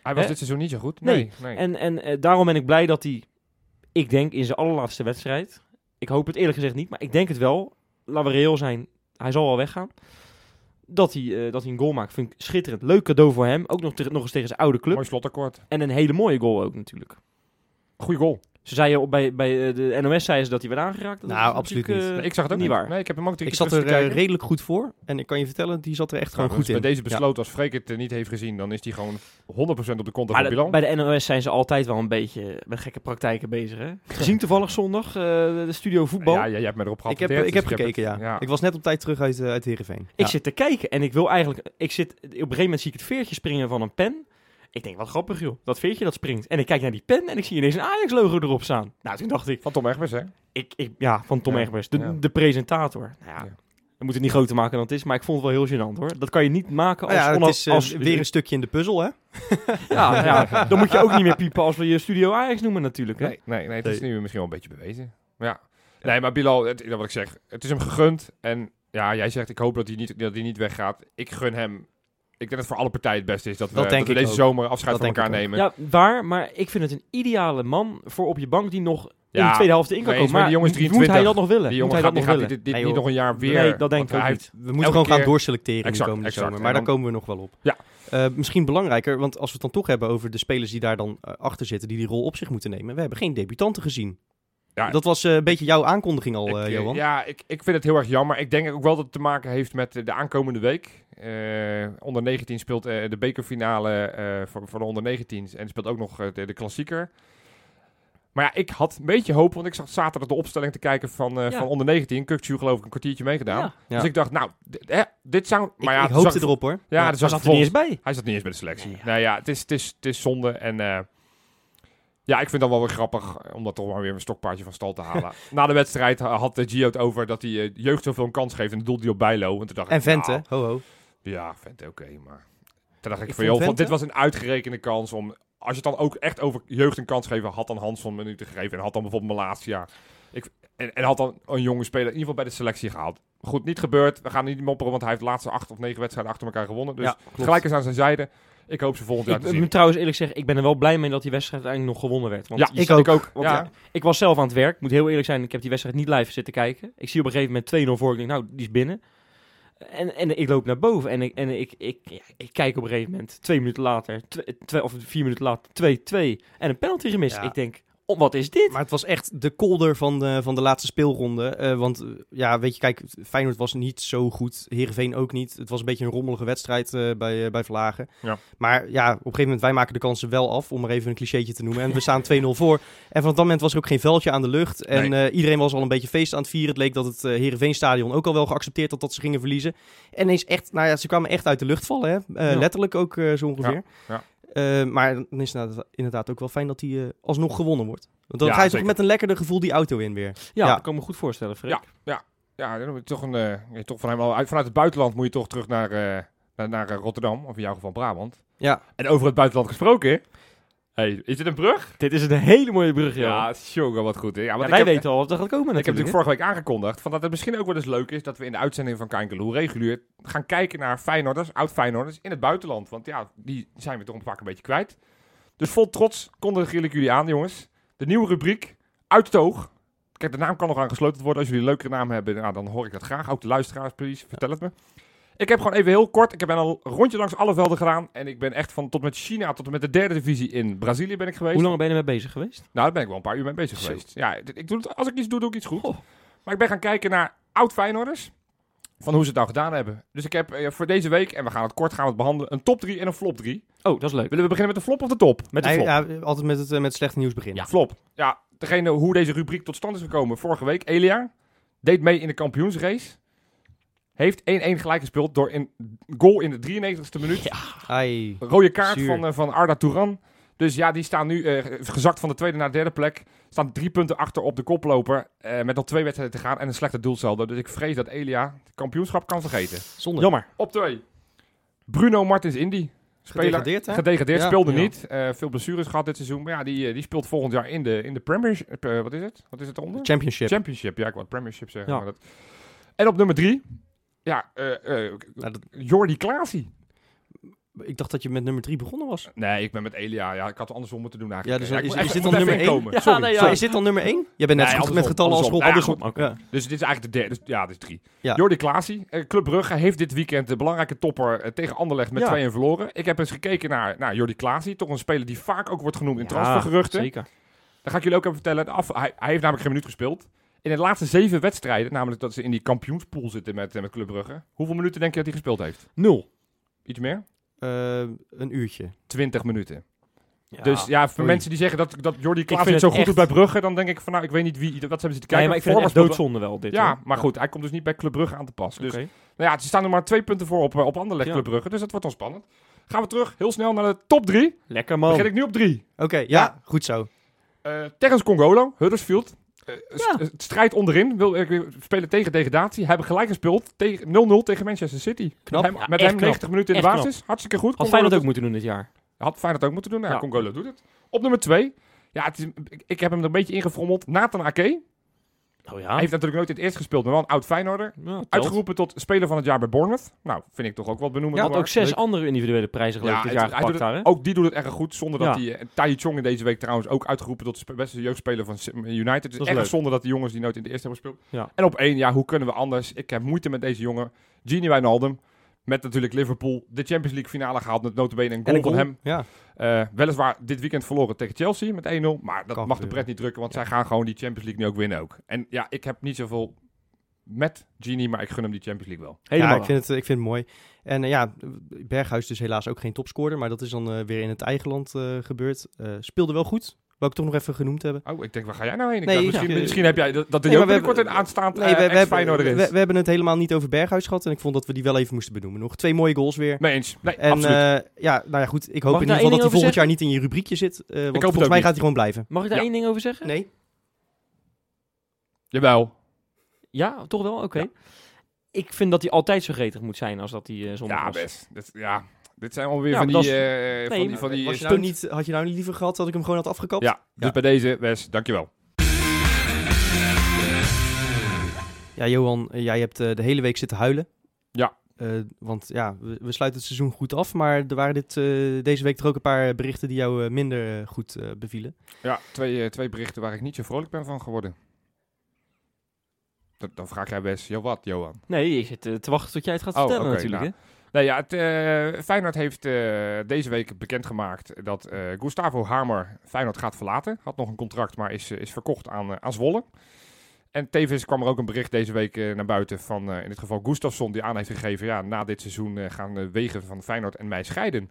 Speaker 3: Hij was
Speaker 4: Hè?
Speaker 3: dit seizoen niet zo goed.
Speaker 4: Nee.
Speaker 3: Nee, nee.
Speaker 4: En, en eh, daarom ben ik blij dat hij, ik denk in zijn allerlaatste wedstrijd, ik hoop het eerlijk gezegd niet, maar ik denk het wel, laten we reëel zijn, hij zal wel weggaan. Dat hij, eh, dat hij een goal maakt, vind ik schitterend. Leuk cadeau voor hem. Ook nog, te- nog eens tegen zijn oude club.
Speaker 3: Mooi slotakkoord.
Speaker 4: En een hele mooie goal ook natuurlijk.
Speaker 3: Goeie goal.
Speaker 2: Eh,
Speaker 4: Ze zeiden op- bij, bij eh, de NOS zeiden ze dat hij werd aangeraakt. Dat
Speaker 2: Nou,
Speaker 4: is
Speaker 2: absoluut
Speaker 4: natuurlijk,
Speaker 2: niet.
Speaker 4: eh,
Speaker 3: Nee, ik zag het ook
Speaker 4: niet
Speaker 3: niet.
Speaker 4: waar.
Speaker 3: Nee, ik heb hem ook
Speaker 2: Ik zat er eh, redelijk goed voor. En ik kan je vertellen, die zat er echt gewoon goed in.
Speaker 3: Nou, dus Bij deze
Speaker 2: Ja.
Speaker 3: besloot, als Freek het eh, niet heeft gezien, dan is hij gewoon 100% op de kont
Speaker 4: Maar
Speaker 3: van
Speaker 4: de-
Speaker 3: Bilal.
Speaker 4: bij de NOS zijn ze altijd wel een beetje eh, met gekke praktijken bezig. Hè? Gezien toevallig zondag, eh, de studio voetbal.
Speaker 3: Ja, ja, jij hebt me erop
Speaker 2: Ik heb,
Speaker 3: geattendeerd.
Speaker 2: ik heb
Speaker 3: dus
Speaker 2: gekeken, ja.
Speaker 3: ja.
Speaker 2: Ik was net op tijd terug uit, eh, uit Heerenveen.
Speaker 4: Ik
Speaker 2: Ja.
Speaker 4: zit te kijken en ik wil eigenlijk... Ik zit, op een gegeven moment zie ik het veertje springen van een pen. Ik denk, wat grappig joh, dat veertje dat springt. En ik kijk naar die pen en ik zie ineens een Ajax-logo erop staan. Nou, toen dacht ik,
Speaker 3: Van Tom Egbers, hè?
Speaker 4: ik, ik ja, van Tom
Speaker 3: Ja,
Speaker 4: Egbers, de,
Speaker 3: ja.
Speaker 4: de presentator. Nou
Speaker 3: Ja.
Speaker 4: ja, we moeten het niet groter maken dan het is, maar ik vond het wel heel gênant hoor. Dat kan je niet maken als...
Speaker 2: Nou ja,
Speaker 4: onaf-
Speaker 2: het is eh,
Speaker 4: als
Speaker 2: weer een stukje in de puzzel, hè?
Speaker 4: ja, ja, dan moet je ook niet meer piepen als we je studio Ajax noemen natuurlijk. Hè?
Speaker 3: Nee, nee, nee het is nu misschien wel een beetje bewezen. Maar Ja. Nee, maar Bilal, het, dat wat ik zeg, het is hem gegund. En ja, jij zegt, ik hoop dat hij niet, dat hij niet weggaat. Ik gun hem. Ik denk dat het voor alle partijen het beste is dat we,
Speaker 2: Dat
Speaker 3: dat
Speaker 2: denk
Speaker 3: we
Speaker 2: ik
Speaker 3: deze
Speaker 2: ook.
Speaker 3: zomer afscheid
Speaker 2: Dat
Speaker 3: van
Speaker 2: denk
Speaker 3: elkaar
Speaker 2: ik
Speaker 3: nemen.
Speaker 4: Ja, waar, maar ik vind het een ideale man voor op je bank die nog in
Speaker 3: Ja,
Speaker 4: de tweede helft in kan
Speaker 3: mee eens,
Speaker 4: komen. Maar
Speaker 3: maar die jongen is
Speaker 4: moet hij
Speaker 3: 23.
Speaker 4: dat nog willen?
Speaker 3: Die
Speaker 4: moet
Speaker 3: jongen
Speaker 4: hij
Speaker 3: gaat, die
Speaker 4: dat nog
Speaker 3: gaat dit,
Speaker 4: willen?
Speaker 3: dit
Speaker 2: Nee,
Speaker 3: niet
Speaker 2: joh.
Speaker 3: nog een jaar weer.
Speaker 4: nee, dat denk
Speaker 3: want
Speaker 4: ik ook
Speaker 3: hij
Speaker 4: niet.
Speaker 2: We moeten
Speaker 3: Elke
Speaker 2: gewoon gaan
Speaker 3: keer-
Speaker 2: doorselecteren in
Speaker 3: Exact,
Speaker 2: de komende
Speaker 3: exact.
Speaker 2: zomer.
Speaker 3: En
Speaker 2: Maar daar
Speaker 3: dan-
Speaker 2: komen we nog wel op.
Speaker 3: Ja.
Speaker 2: Eh, misschien belangrijker, want als we het dan toch hebben over de spelers die daar dan eh, achter zitten, die die rol op zich moeten nemen. We hebben geen debutanten gezien.
Speaker 3: Ja.
Speaker 2: Dat was eh, een beetje jouw aankondiging al,
Speaker 3: Ik,
Speaker 2: eh,
Speaker 3: eh,
Speaker 2: Johan.
Speaker 3: Ja, ik, ik vind het heel erg jammer. Ik denk ook wel dat het te maken heeft met eh, de aankomende week. Eh, onder 19 speelt eh, de bekerfinale eh voor, voor de onder 19's. En speelt ook nog eh, de, de klassieker. Maar ja, ik had een beetje hoop, want ik zag zaterdag de opstelling te kijken van, eh,
Speaker 4: Ja.
Speaker 3: van onder 19. Kukcu geloof ik een kwartiertje meegedaan.
Speaker 4: Ja.
Speaker 2: Ja.
Speaker 3: Dus ik dacht, nou, dit, hè, dit zou...
Speaker 2: Ik,
Speaker 3: Maar ja,
Speaker 2: ik
Speaker 3: toen
Speaker 2: hoopte
Speaker 3: zag-
Speaker 2: erop hoor.
Speaker 3: Ja,
Speaker 4: Daar
Speaker 3: dus zat
Speaker 4: zat er niet eens bij.
Speaker 3: hij zat niet eens bij de selectie.
Speaker 4: Nee, ja.
Speaker 3: Nou ja, het is, het is, het is zonde. En eh, ja, ik vind dat wel weer grappig eh, om dat toch maar weer een stokpaardje van stal te halen. Na de wedstrijd ha- had de Gio het over dat hij eh, jeugd zoveel een kans geeft. En dat doelde hij op Bijlo. En toen dacht
Speaker 2: En
Speaker 3: ik,
Speaker 2: Vente,
Speaker 3: nou,
Speaker 2: ho ho.
Speaker 3: ja, Vente, oké. maar toen dacht ik,
Speaker 2: Ik
Speaker 3: van,
Speaker 2: vond
Speaker 3: joh, want
Speaker 2: Vente-
Speaker 3: dit was een uitgerekende kans om... Als je het dan ook echt over jeugd een kans geven, had dan Hanson minuten gegeven. En had dan bijvoorbeeld Malasia. Ik, en, en had dan een jonge speler in ieder geval bij de selectie gehaald. Goed, niet gebeurd. We gaan niet mopperen, want hij heeft de laatste acht of negen wedstrijden achter elkaar gewonnen. Dus
Speaker 2: ja, klopt.
Speaker 3: Gelijk is aan zijn zijde. Ik hoop ze volgend jaar
Speaker 4: Ik
Speaker 3: te
Speaker 4: moet
Speaker 3: zien.
Speaker 4: trouwens eerlijk zeggen, ik ben er wel blij mee dat die wedstrijd uiteindelijk nog gewonnen werd. Want
Speaker 3: Ja,
Speaker 4: je
Speaker 2: ik
Speaker 4: ziet-
Speaker 2: ook.
Speaker 4: want
Speaker 3: ja.
Speaker 4: ja, ik was zelf aan het werk, moet heel eerlijk zijn. Ik heb die wedstrijd niet live zitten kijken. Ik zie op een gegeven moment 2-0 voor. Ik denk, nou, die is binnen. Eh, En, en ik loop naar boven en ik, en ik, ik, ja, ik kijk op een gegeven moment, twee minuten later, twe- twee- of vier minuten later, 2-2 en een penalty gemist.
Speaker 2: Ja.
Speaker 4: Ik denk, oh, wat is dit?
Speaker 2: Maar het was echt de kolder van de, van de laatste speelronde. Eh, want eh, ja, weet je, kijk, Feyenoord was niet zo goed. Heerenveen ook niet. Het was een beetje een rommelige wedstrijd eh, bij, eh, bij Vlagen.
Speaker 3: Ja.
Speaker 2: Maar ja, op een gegeven moment, wij maken de kansen wel af, om maar even een clichétje te noemen. En we staan 2-0 voor. En vanaf dat moment was er ook geen veldje aan de lucht. En eh, iedereen was al een beetje feest aan het vieren. Het leek dat het eh Heerenveen stadion ook al wel geaccepteerd had dat ze gingen verliezen. En ineens echt, nou ja, ze kwamen echt uit de lucht vallen. Hè? Eh,
Speaker 4: Ja.
Speaker 2: Letterlijk ook eh, zo ongeveer.
Speaker 3: ja.
Speaker 2: Eh, maar dan is het inderdaad ook wel fijn dat hij eh, alsnog gewonnen wordt. Want dan
Speaker 3: Ja,
Speaker 2: ga je
Speaker 3: zeker.
Speaker 2: toch met een lekkerder gevoel die auto in weer.
Speaker 4: Ja,
Speaker 2: Ja.
Speaker 4: dat kan me goed voorstellen, Freek.
Speaker 3: Ja, dan moet je toch een, eh, je toch van helemaal uit, vanuit het buitenland moet je toch terug naar, eh, naar, naar eh, Rotterdam, of in jouw geval Brabant.
Speaker 2: Ja.
Speaker 3: En over het buitenland gesproken. Hey, is dit een brug?
Speaker 4: Dit is een hele mooie brug, joh. Ja,
Speaker 3: Ja, jongen, wat goed. Hè? Ja, want
Speaker 4: wij
Speaker 3: ik heb-
Speaker 4: weten al wat er gaat komen
Speaker 3: Ik heb
Speaker 4: natuurlijk.
Speaker 3: natuurlijk vorige week aangekondigd van dat het misschien ook wel eens leuk is dat we in de uitzending van Kijkeloe regulier gaan kijken naar Feyenoorders, oud-Feyenoorders in het buitenland. Want ja, die zijn we toch vaak een beetje kwijt. Dus vol trots kondig ik jullie aan, jongens. De nieuwe rubriek, Uit het Oog. Kijk, de naam kan nog aangesloten worden. Als jullie een leukere naam hebben, nou, dan hoor ik dat graag. Ook de luisteraars, please, vertel het me. Ik heb gewoon even heel kort, ik heb al een rondje langs alle velden gedaan. En ik ben echt van tot met China, tot en met de derde divisie in Brazilië ben ik geweest.
Speaker 4: Hoe lang ben je ermee bezig geweest?
Speaker 3: Nou, daar ben ik wel een paar uur mee bezig
Speaker 4: Zo.
Speaker 3: geweest. Ja, d- ik doe het, als ik iets doe, doe ik iets goed.
Speaker 4: Goh.
Speaker 3: Maar ik ben gaan kijken naar oud Feyenoorders. Van hoe ze het nou gedaan hebben. Dus ik heb eh, voor deze week, en we gaan het kort gaan we het behandelen, een top 3 en een flop 3.
Speaker 4: Oh, dat is leuk.
Speaker 3: Willen we beginnen met de flop of de top?
Speaker 4: Met de
Speaker 2: Nee,
Speaker 4: flop.
Speaker 2: ja, altijd met het, eh, met slecht nieuws beginnen.
Speaker 3: Ja, flop. Ja, degene hoe deze rubriek tot stand is gekomen. Vorige week, Elia, deed mee in de kampioensrace. Heeft 1-1 gelijk gespeeld door een goal in de 93ste minuut.
Speaker 2: Ai.
Speaker 3: Rode kaart
Speaker 2: Zuur.
Speaker 3: van, eh, van Arda Turan. Dus ja, die staan nu eh, gezakt van de tweede naar de derde plek. Staan drie punten achter op de koploper. eh, met nog twee wedstrijden te gaan en een slechte doelsaldo. Dus ik vrees dat Elia het kampioenschap kan vergeten.
Speaker 2: Zonde.
Speaker 4: Jammer.
Speaker 3: Op twee. Bruno Martins Indy. Speler,
Speaker 2: Gedegradeerd, hè?
Speaker 3: gedegradeerd,
Speaker 2: Ja,
Speaker 3: speelde
Speaker 2: ja.
Speaker 3: niet. Eh, veel blessures gehad dit seizoen. Maar ja, die, eh, die speelt volgend jaar in de, in de Premiership. eh, wat is het? Wat is het onder?
Speaker 2: Championship.
Speaker 3: Championship. Ja, ik wou het Premiership zeggen.
Speaker 4: Ja.
Speaker 3: Maar dat... En op nummer drie. Ja, eh, eh,
Speaker 2: Nou, dat-
Speaker 3: Jordi Klaasie.
Speaker 2: ik dacht dat je met nummer 3 begonnen was.
Speaker 3: Nee, ik ben met Elia. Ja, ik had het andersom moeten doen
Speaker 2: Ja,
Speaker 3: eigenlijk.
Speaker 2: dus
Speaker 3: Ja, ik
Speaker 2: is-
Speaker 3: moet
Speaker 2: is
Speaker 3: even-
Speaker 2: dit
Speaker 3: ik
Speaker 2: dan
Speaker 3: moet
Speaker 2: nummer
Speaker 3: even
Speaker 2: één?
Speaker 3: inkomen.
Speaker 4: Ja,
Speaker 3: Sorry,
Speaker 4: nee, ja.
Speaker 3: sorry.
Speaker 2: Is dit dan nummer 1? Jij bent net
Speaker 3: Nee,
Speaker 2: goed met
Speaker 3: andersom,
Speaker 2: getallen als
Speaker 3: andersom.
Speaker 2: Rob.
Speaker 3: Nou ja,
Speaker 2: Andersom.
Speaker 4: goed.
Speaker 2: Ja.
Speaker 3: Dus dit is eigenlijk de derde. Dus, ja, dit is drie.
Speaker 2: Ja.
Speaker 3: Jordi Klaasie, eh, Club Brugge, heeft dit weekend de belangrijke topper eh, tegen Anderlecht met
Speaker 4: Ja.
Speaker 3: 2-1 verloren. Ik heb eens gekeken naar, naar Jordi Klaasie. Toch een speler die vaak ook wordt genoemd in
Speaker 4: Ja,
Speaker 3: transfergeruchten. Dus
Speaker 4: Zeker.
Speaker 3: Dan ga ik jullie ook even vertellen. de Af, hij, hij heeft namelijk geen minuut gespeeld. In de laatste zeven wedstrijden, namelijk dat ze in die kampioenspool zitten met, eh, met Club Brugge. Hoeveel minuten denk je dat hij gespeeld heeft?
Speaker 4: Nul.
Speaker 3: Iets meer?
Speaker 2: Eh, een uurtje.
Speaker 3: 20 minuten. Dus ja, voor
Speaker 2: Oei.
Speaker 3: mensen die zeggen dat, dat Jordi Klaas
Speaker 4: vind
Speaker 3: het zo
Speaker 4: het
Speaker 3: goed doet
Speaker 4: echt-
Speaker 3: bij Brugge, dan denk ik van nou, ik weet niet wie, wat hebben ze te kijken.
Speaker 4: nee, maar ik vind het echt
Speaker 3: Voorwaarts-
Speaker 4: doodzonde wel, dit.
Speaker 3: Ja,
Speaker 4: hoor.
Speaker 3: maar goed, hij komt dus niet bij Club Brugge aan te pas. Dus
Speaker 4: Oké.
Speaker 3: nou ja, ze staan er maar twee punten voor op, eh, op Anderlecht
Speaker 4: Ja.
Speaker 3: Club Brugge, dus dat wordt dan spannend. Gaan we terug, heel snel naar de top drie.
Speaker 4: Lekker, man.
Speaker 3: Begin ik nu op drie.
Speaker 2: Oké, ja,
Speaker 3: Ja.
Speaker 2: goed zo.
Speaker 3: Eh Terrence Congolo, Huddersfield. Eh, st-
Speaker 4: Ja.
Speaker 3: eh, strijd onderin, wil, eh, spelen tegen degradatie. Hebben gelijk gespeeld, tegen- 0-0 tegen Manchester City.
Speaker 2: Knap.
Speaker 3: Met hem,
Speaker 4: Ja,
Speaker 3: met
Speaker 4: echt
Speaker 3: hem
Speaker 4: knap.
Speaker 3: 90 minuten in de
Speaker 4: Echt
Speaker 3: basis, hartstikke goed.
Speaker 4: Had
Speaker 3: Congolo
Speaker 4: Feyenoord
Speaker 3: doet-
Speaker 4: ook moeten doen dit jaar.
Speaker 3: Had Feyenoord ook moeten doen. Nou, ja.
Speaker 4: Ja.
Speaker 3: Congolo doet het. Op nummer 2. Ja, het is, ik, ik heb hem er een beetje ingefrommeld. Nathan Ake.
Speaker 4: Oh
Speaker 3: Hij
Speaker 4: ja.
Speaker 3: heeft natuurlijk nooit in het eerst gespeeld, maar wel een oud Feyenoorder. Uitgeroepen tot speler van het jaar bij Bournemouth. Nou, vind ik toch ook wat benoemend.
Speaker 4: Ja, had ook zes
Speaker 2: Leuk.
Speaker 4: andere individuele prijzen geloof ik dit
Speaker 3: het-
Speaker 4: jaar
Speaker 3: hij doet
Speaker 4: gepakt daar, hè?
Speaker 3: het, ook die doet het erg goed. Zonder dat
Speaker 4: Ja.
Speaker 3: die... eh, Tai Chong in deze week trouwens ook uitgeroepen tot spe- beste jeugdspeler van Sim- United. Dus
Speaker 4: Dat is
Speaker 3: erg
Speaker 4: leuk.
Speaker 3: zonde dat die jongens die nooit in de eerste hebben gespeeld.
Speaker 4: Ja.
Speaker 3: En op één, ja, hoe kunnen we anders? Ik heb moeite met deze jongen. Genie Wijnaldum. Met natuurlijk Liverpool de Champions League finale gehaald met notabene een goal van hem.
Speaker 2: Ja.
Speaker 3: Eh, weliswaar dit weekend verloren tegen Chelsea met 1-0. Maar dat
Speaker 2: Kan
Speaker 3: mag de
Speaker 2: gebeuren.
Speaker 3: pret niet drukken, want zij gaan gewoon die Champions League nu ook winnen ook. En ja, ik heb niet zoveel met Genie, maar ik gun hem die Champions League wel.
Speaker 4: Helemaal.
Speaker 2: Ja, ik vind, het, ik vind het mooi. En eh, ja, Berghuis dus helaas ook geen topscorer, maar dat is dan eh, weer in het eigen land eh, gebeurd. Eh, speelde wel goed, wou ik toch nog even genoemd hebben.
Speaker 3: Oh, ik denk, waar ga jij nou heen? Ik
Speaker 2: Nee,
Speaker 3: dacht,
Speaker 2: ja.
Speaker 3: misschien,
Speaker 2: Ik, eh,
Speaker 3: misschien heb jij dat, dat de
Speaker 2: nee,
Speaker 3: nee,
Speaker 2: maar we
Speaker 3: binnenkort een
Speaker 2: hebben-
Speaker 3: aanstaand
Speaker 2: Nee, we, we,
Speaker 3: Eh, feyenoorder
Speaker 2: hebben,
Speaker 3: is.
Speaker 2: we, we hebben het helemaal niet over Berghuis gehad en ik vond dat we die wel even moesten benoemen. Nog twee mooie goals weer.
Speaker 3: Mee eens. Nee,
Speaker 2: En
Speaker 3: absoluut.
Speaker 2: eh, ja, nou ja, goed. Ik hoop
Speaker 4: Mag
Speaker 2: in ieder
Speaker 4: ik daar
Speaker 2: geval dat hij
Speaker 4: één
Speaker 2: volgend
Speaker 4: ding over
Speaker 2: jaar niet in je rubriekje zit. eh, want
Speaker 3: hoop het
Speaker 2: volgens
Speaker 3: ook
Speaker 2: mij
Speaker 3: niet.
Speaker 2: gaat hij gewoon blijven.
Speaker 4: Mag ik daar
Speaker 3: Ja.
Speaker 4: één ding over zeggen?
Speaker 2: Nee.
Speaker 3: Jawel.
Speaker 4: Ja, toch wel? Oké. Ik vind dat hij altijd zo gretig moet zijn als dat hij eh, zondag
Speaker 3: Ja,
Speaker 4: was.
Speaker 3: best. Dat, ja. Dit zijn alweer
Speaker 4: Ja,
Speaker 3: van,
Speaker 4: maar
Speaker 3: die,
Speaker 4: dat
Speaker 3: eh, van
Speaker 4: nee,
Speaker 3: die... Van die
Speaker 2: Was
Speaker 3: eh,
Speaker 2: je nou niet, had je nou niet liever gehad dat ik hem gewoon had afgekapt?
Speaker 3: Ja, dus bij deze, Wes, dankjewel.
Speaker 2: Ja, Johan, eh, jij hebt eh, de hele week zitten huilen.
Speaker 3: Ja.
Speaker 2: Eh, want ja, we, we sluiten het seizoen goed af. Maar er waren dit, eh, deze week er ook een paar berichten die jou eh, minder eh, goed eh, bevielen.
Speaker 3: Ja, twee, eh, twee berichten waar ik niet zo vrolijk ben van geworden. Dan, dan vraag jij best, joh wat, Johan?
Speaker 4: Nee, ik zit eh, te wachten tot jij het gaat
Speaker 3: Oh,
Speaker 4: vertellen
Speaker 3: oké,
Speaker 4: natuurlijk.
Speaker 3: nou.
Speaker 4: hè.
Speaker 3: Nou ja, het, eh, Feyenoord heeft eh, deze week bekendgemaakt dat eh, Gustavo Hamer Feyenoord gaat verlaten. Had nog een contract, maar is, eh, is verkocht aan, eh, aan Zwolle. En tevens kwam er ook een bericht deze week eh, naar buiten van eh, in dit geval Gustafsson die aan heeft gegeven. Ja, na dit seizoen eh, gaan de wegen van Feyenoord en mij scheiden.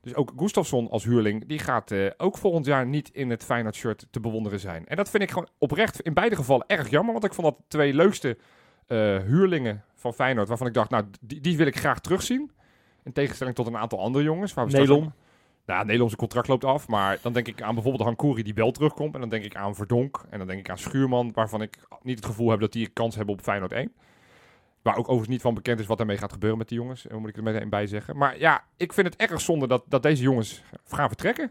Speaker 3: Dus ook Gustafsson als huurling, die gaat eh, ook volgend jaar niet in het Feyenoord shirt te bewonderen zijn. En dat vind ik gewoon oprecht in beide gevallen erg jammer, want ik vond dat de twee leukste eh, huurlingen van Feyenoord, waarvan ik dacht, nou, die, die wil ik graag terugzien. In tegenstelling tot een aantal andere jongens. Waar we straks
Speaker 4: Nelom.
Speaker 3: ook- Nou, Nelom zijn contract loopt af, maar dan denk ik aan bijvoorbeeld Hankouri die wel terugkomt. En dan denk ik aan Verdonk en dan denk ik aan Schuurman, waarvan ik niet het gevoel heb dat die een kans hebben op Feyenoord 1. Waar ook overigens niet van bekend is wat daarmee gaat gebeuren met die jongens. eh, Moet ik er meteen bij zeggen. Maar ja, ik vind het erg zonde dat, dat deze jongens gaan vertrekken.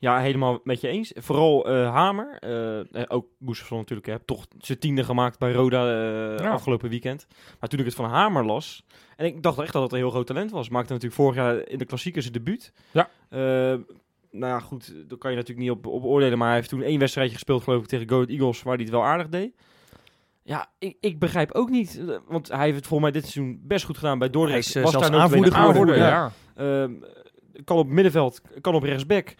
Speaker 4: Ja, helemaal met je eens. Vooral eh, Hamer, eh, eh, ook Gustafsson natuurlijk, hè, toch zijn tiende gemaakt bij Roda eh,
Speaker 3: Ja.
Speaker 4: afgelopen weekend. Maar toen ik het van Hamer las, en ik dacht echt dat het een heel groot talent was. Maakte natuurlijk vorig jaar in de klassieker zijn debuut.
Speaker 3: Ja.
Speaker 4: Eh, nou ja, goed, daar kan je natuurlijk niet op, op oordelen, maar hij heeft toen één wedstrijdje gespeeld, geloof ik, tegen Go Ahead Eagles, waar hij het wel aardig deed. Ja, ik, ik begrijp ook niet, eh, want hij heeft het volgens mij dit seizoen best goed gedaan bij Dordrecht.
Speaker 2: Hij is, eh,
Speaker 4: Was
Speaker 2: zelfs
Speaker 4: daar notabene
Speaker 2: aanvoerder geworden.
Speaker 3: Aanvoerder,
Speaker 2: Aanvoerder,
Speaker 3: ja.
Speaker 4: Ehm, kan op middenveld, kan op rechtsback, eh,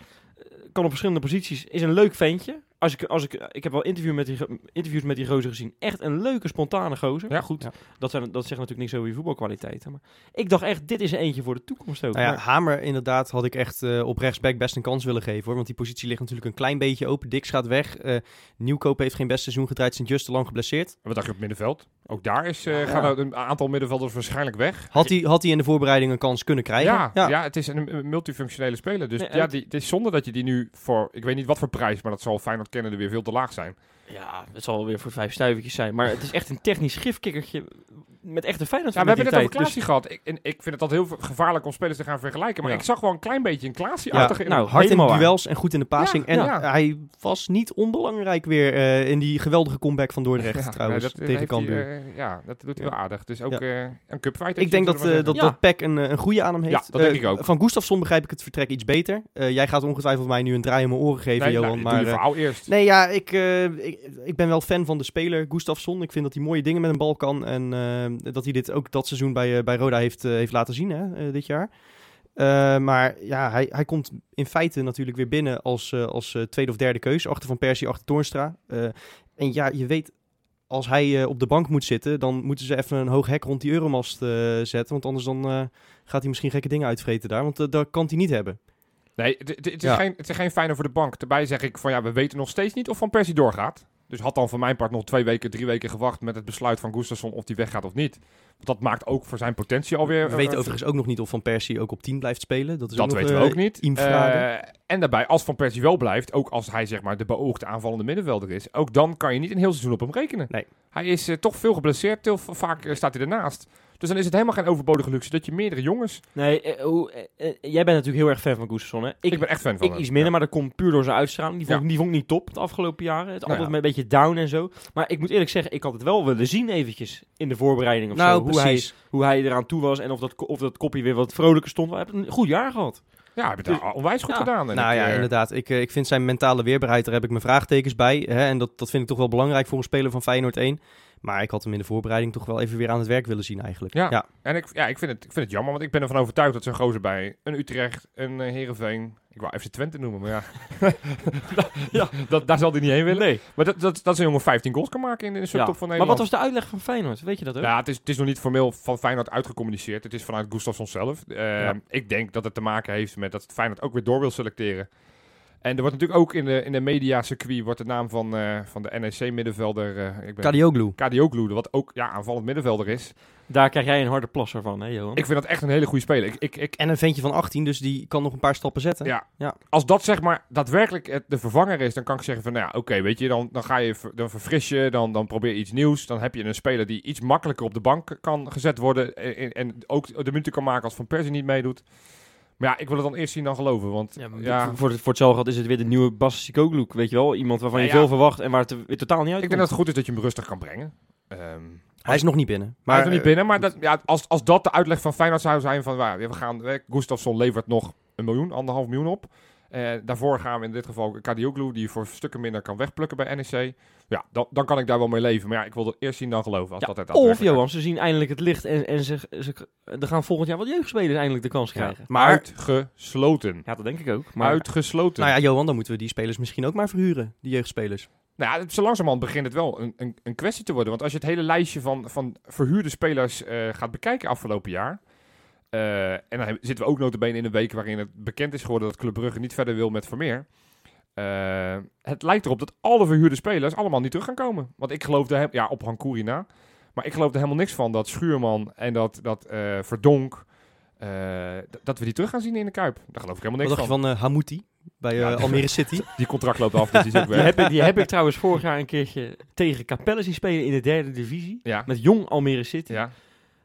Speaker 4: kan op verschillende posities. Is een leuk ventje. Als ik, als ik, ik heb wel interview met die, go- interviews met die gozer gezien. Echt een leuke, spontane gozer.
Speaker 3: Ja.
Speaker 4: goed.
Speaker 2: Ja.
Speaker 4: Dat, zijn, dat zegt natuurlijk niks over je voetbalkwaliteiten. Maar ik dacht echt, dit is er eentje voor de toekomst ook.
Speaker 2: Nou ja,
Speaker 4: Maar-
Speaker 2: Hamer inderdaad had ik echt eh, op rechtsback best een kans willen geven hoor. Want die positie ligt natuurlijk een klein beetje open. Dix gaat weg. Eh Nieuwkoop heeft geen best seizoen gedraaid. Sint-Just te lang geblesseerd.
Speaker 3: En Wat dacht je op middenveld? Ook daar is, eh,
Speaker 4: Ja.
Speaker 3: gaan er een aantal middenvelders waarschijnlijk weg.
Speaker 2: Had hij had hij in de voorbereiding een kans kunnen krijgen?
Speaker 3: Ja, ja. het is een een multifunctionele speler. Dus
Speaker 4: Nee, en
Speaker 3: ja,
Speaker 4: het-
Speaker 3: die, het is zonde dat je die nu voor, ik weet niet wat voor prijs, maar dat zal Feyenoord kennen er weer veel te laag zijn.
Speaker 4: ja, het zal weer voor vijf stuivertjes zijn. Maar het is echt een technisch gifkikkertje met echte feyenoord
Speaker 3: Ja, we hebben net over
Speaker 4: mentaliteit. dus-
Speaker 3: Klaasie gehad. Ik, en ik vind het altijd heel ver- gevaarlijk om spelers te gaan vergelijken. Maar
Speaker 4: Ja.
Speaker 3: ik zag wel een klein beetje een Klaasie-achtige in
Speaker 4: nou,
Speaker 3: hem.
Speaker 2: Hard in
Speaker 4: Helemaal
Speaker 2: de
Speaker 4: waar.
Speaker 2: duels en goed in de passing.
Speaker 3: Ja,
Speaker 2: en
Speaker 3: ja.
Speaker 2: hij was niet onbelangrijk weer eh, in die geweldige comeback van Dordrecht
Speaker 3: Ja,
Speaker 2: trouwens
Speaker 3: nou, dat, eh,
Speaker 2: tegen
Speaker 3: heeft hij,
Speaker 2: Cambuur.
Speaker 3: eh, ja, dat doet hij
Speaker 2: Ja.
Speaker 3: wel aardig. Dus ook eh, een cupfight.
Speaker 2: Ik denk dat, eh, dat,
Speaker 4: Ja.
Speaker 2: dat Peck een, eh, een goede aan hem heeft.
Speaker 3: Ja, dat denk
Speaker 2: Eh,
Speaker 3: ik ook.
Speaker 2: Van Gustafsson begrijp ik het vertrek iets beter. Eh, jij gaat ongetwijfeld mij nu een draai om mijn oren geven, Johan.
Speaker 3: maar...
Speaker 2: maar,
Speaker 3: nou, je
Speaker 2: eh,
Speaker 3: verhaal eerst.
Speaker 2: nee, ja, ik, eh, ik, ik ben wel fan van de speler Gustafsson. Ik vind dat hij mooie dingen met een bal kan. En eh, dat hij dit ook dat seizoen bij, eh, bij Roda heeft, eh, heeft laten zien hè, eh, dit jaar. Eh, maar ja, hij, hij komt in feite natuurlijk weer binnen als, eh, als eh, tweede of derde keus. Achter Van Persie, achter Toornstra. Eh, en ja, je weet, als hij eh, op de bank moet zitten, dan moeten ze even een hoog hek rond die euromast eh, zetten. Want anders dan, eh, gaat hij misschien gekke dingen uitvreten daar. Want eh, dat kan hij niet hebben.
Speaker 3: Nee, het- het- het is
Speaker 2: Ja.
Speaker 3: geen- het is geen fijne voor de bank. Daarbij zeg ik van ja, we weten nog steeds niet of Van Persie doorgaat. Dus had dan van mijn part nog twee weken, drie weken gewacht met het besluit van Gustafsson of die weggaat of niet. Want dat maakt ook voor zijn potentie alweer...
Speaker 2: We
Speaker 3: eh,
Speaker 2: weten overigens ook nog niet of Van Persie ook op 10 blijft spelen.
Speaker 4: Dus
Speaker 2: Dat, is
Speaker 3: Dat
Speaker 2: nog,
Speaker 3: weten
Speaker 2: eh,
Speaker 3: we ook niet.
Speaker 2: infrared.
Speaker 3: Eh, en daarbij, als Van Persie wel blijft, ook als hij zeg maar de beoogde aanvallende middenvelder is, ook dan kan je niet een heel seizoen op hem rekenen.
Speaker 2: Nee.
Speaker 3: Hij is eh, toch veel geblesseerd, heel va- vaak eh, staat hij ernaast. Dus dan is het helemaal geen overbodige luxe dat je meerdere jongens...
Speaker 4: Nee, eh, hoe- eh, eh, jij bent natuurlijk heel erg fan van Gustafsson. Hè?
Speaker 3: Ik, ben echt fan van
Speaker 4: ik
Speaker 3: hem.
Speaker 4: iets minder, maar dat komt puur door zijn uitstraling. Die vond,
Speaker 3: Ja.
Speaker 4: ik- die vond ik niet top de afgelopen jaren. Het
Speaker 3: Nou
Speaker 4: altijd
Speaker 3: ja.
Speaker 4: met een beetje down en zo. Maar ik moet eerlijk zeggen, ik had het wel willen zien eventjes in de voorbereiding of
Speaker 2: Nou,
Speaker 3: Nou,
Speaker 4: zo. Hoe hij, hoe hij eraan toe was en of dat, ko- of dat kopje weer wat vrolijker stond. Hij heeft een goed jaar gehad.
Speaker 3: Ja, hij heeft het
Speaker 4: Dus-
Speaker 3: onwijs goed
Speaker 4: Ja.
Speaker 3: gedaan. En
Speaker 2: Nou
Speaker 3: ik,
Speaker 2: ja,
Speaker 3: eh,
Speaker 2: inderdaad. Ik, eh, ik vind zijn mentale weerbaarheid, daar heb ik mijn vraagtekens bij. Hè? En dat, dat vind ik toch wel belangrijk voor een speler van Feyenoord 1. Maar ik had hem in de voorbereiding toch wel even weer aan het werk willen zien eigenlijk.
Speaker 3: Ja. En ik, ja, ik, vind het, ik vind het jammer, want ik ben ervan overtuigd dat zo'n gozer bij een Utrecht, een eh, Heerenveen... Ik wou even Twente noemen, maar ja,
Speaker 4: Ja,
Speaker 3: dat, daar zal hij niet heen willen.
Speaker 4: nee.
Speaker 3: Maar dat, dat, dat is een jongen 15 goals kan maken in de subtop
Speaker 4: Ja.
Speaker 3: van
Speaker 4: Maar
Speaker 3: Nederland.
Speaker 4: wat was de uitleg van Feyenoord? Weet je dat ook?
Speaker 3: Ja, het is, het is nog niet formeel van Feyenoord uitgecommuniceerd. Het is vanuit Gustafsson zelf. Eh,
Speaker 4: Ja.
Speaker 3: Ik denk dat het te maken heeft met dat Feyenoord ook weer door wil selecteren. En er wordt natuurlijk ook in de, in de mediacircuit wordt de naam van, eh, van de NEC-middenvelder... eh ik ben
Speaker 2: Kadioglu.
Speaker 3: Kadioglu, wat ook ja, aanvallend middenvelder is.
Speaker 4: Daar krijg jij een harde plasser van, hè Johan?
Speaker 3: Ik vind dat echt een hele goede speler. Ik, ik, ik,
Speaker 2: En een ventje van 18, dus die kan nog een paar stappen zetten.
Speaker 3: Ja.
Speaker 2: Ja.
Speaker 3: Als dat zeg maar daadwerkelijk het- de vervanger is, dan kan ik zeggen van, nou ja, oké, weet je, dan, dan ga je, ver- dan verfris je, dan, dan probeer je iets nieuws. Dan heb je een speler die iets makkelijker op de bank kan gezet worden eh, en, en ook de minuten kan maken als Van Persie niet meedoet. Maar ja, ik wil het dan eerst zien dan geloven, want ja,
Speaker 4: Voor, voor het- voor hetzelfde geld is het weer de nieuwe Bas Sikoglu, weet je wel? Iemand waarvan je
Speaker 3: Ja, ja.
Speaker 4: veel verwacht en waar het er weer totaal niet
Speaker 3: ik
Speaker 4: uitkomt.
Speaker 3: denk dat het goed is dat je hem rustig kan brengen. Ehm
Speaker 2: Hij is nog niet binnen.
Speaker 3: maar, hij is nog
Speaker 2: eh,
Speaker 3: niet binnen, maar dat, ja, als, als dat de uitleg van Feyenoord zou zijn van, waar we gaan, eh, Gustafsson levert nog een miljoen, anderhalf miljoen op. Eh, daarvoor gaan we in dit geval Kadioglu, die je voor stukken minder kan wegplukken bij NEC. Ja, dan, dan kan ik daar wel mee leven. Maar ja, ik wil dat eerst zien dan geloven. Als
Speaker 4: Ja,
Speaker 3: dat het
Speaker 4: Of
Speaker 3: daadwerkelijk
Speaker 4: Johan, ze zien eindelijk het licht en, en ze, ze, er gaan volgend jaar wat jeugdspelers eindelijk de kans
Speaker 2: Ja.
Speaker 4: krijgen.
Speaker 2: Maar,
Speaker 3: Uitgesloten.
Speaker 4: Ja, dat denk ik ook. Maar
Speaker 3: Uitgesloten.
Speaker 2: nou ja, Johan, dan moeten we die spelers misschien ook maar verhuren. Die jeugdspelers.
Speaker 3: Nou ja, het- zo langzamerhand begint het wel een, een, een kwestie te worden. Want als je het hele lijstje van, van verhuurde spelers eh, gaat bekijken afgelopen jaar. eh, en dan hebben- zitten we ook notabene in een week waarin het bekend is geworden dat Club Brugge niet verder wil met Vermeer. Eh, het lijkt erop dat alle verhuurde spelers allemaal niet terug gaan komen. Want ik geloof er, he- ja, op Hankouri na. Maar ik geloof er helemaal niks van dat Schuurman en dat, dat eh, Verdonk, eh, d- dat we die terug gaan zien in de Kuip. Daar geloof ik helemaal
Speaker 2: Wat
Speaker 3: niks
Speaker 2: dacht je
Speaker 3: van.
Speaker 2: van eh, Hamouti bij eh,
Speaker 3: Ja, dat-
Speaker 2: Almere City?
Speaker 3: Die contract loopt af, dus die is ook
Speaker 4: die,
Speaker 3: weg.
Speaker 4: heb ik, die heb ik trouwens vorig jaar een keertje tegen Capelle zien spelen in de derde divisie.
Speaker 3: Ja, Oh
Speaker 4: Met jong Almere City.
Speaker 3: ja.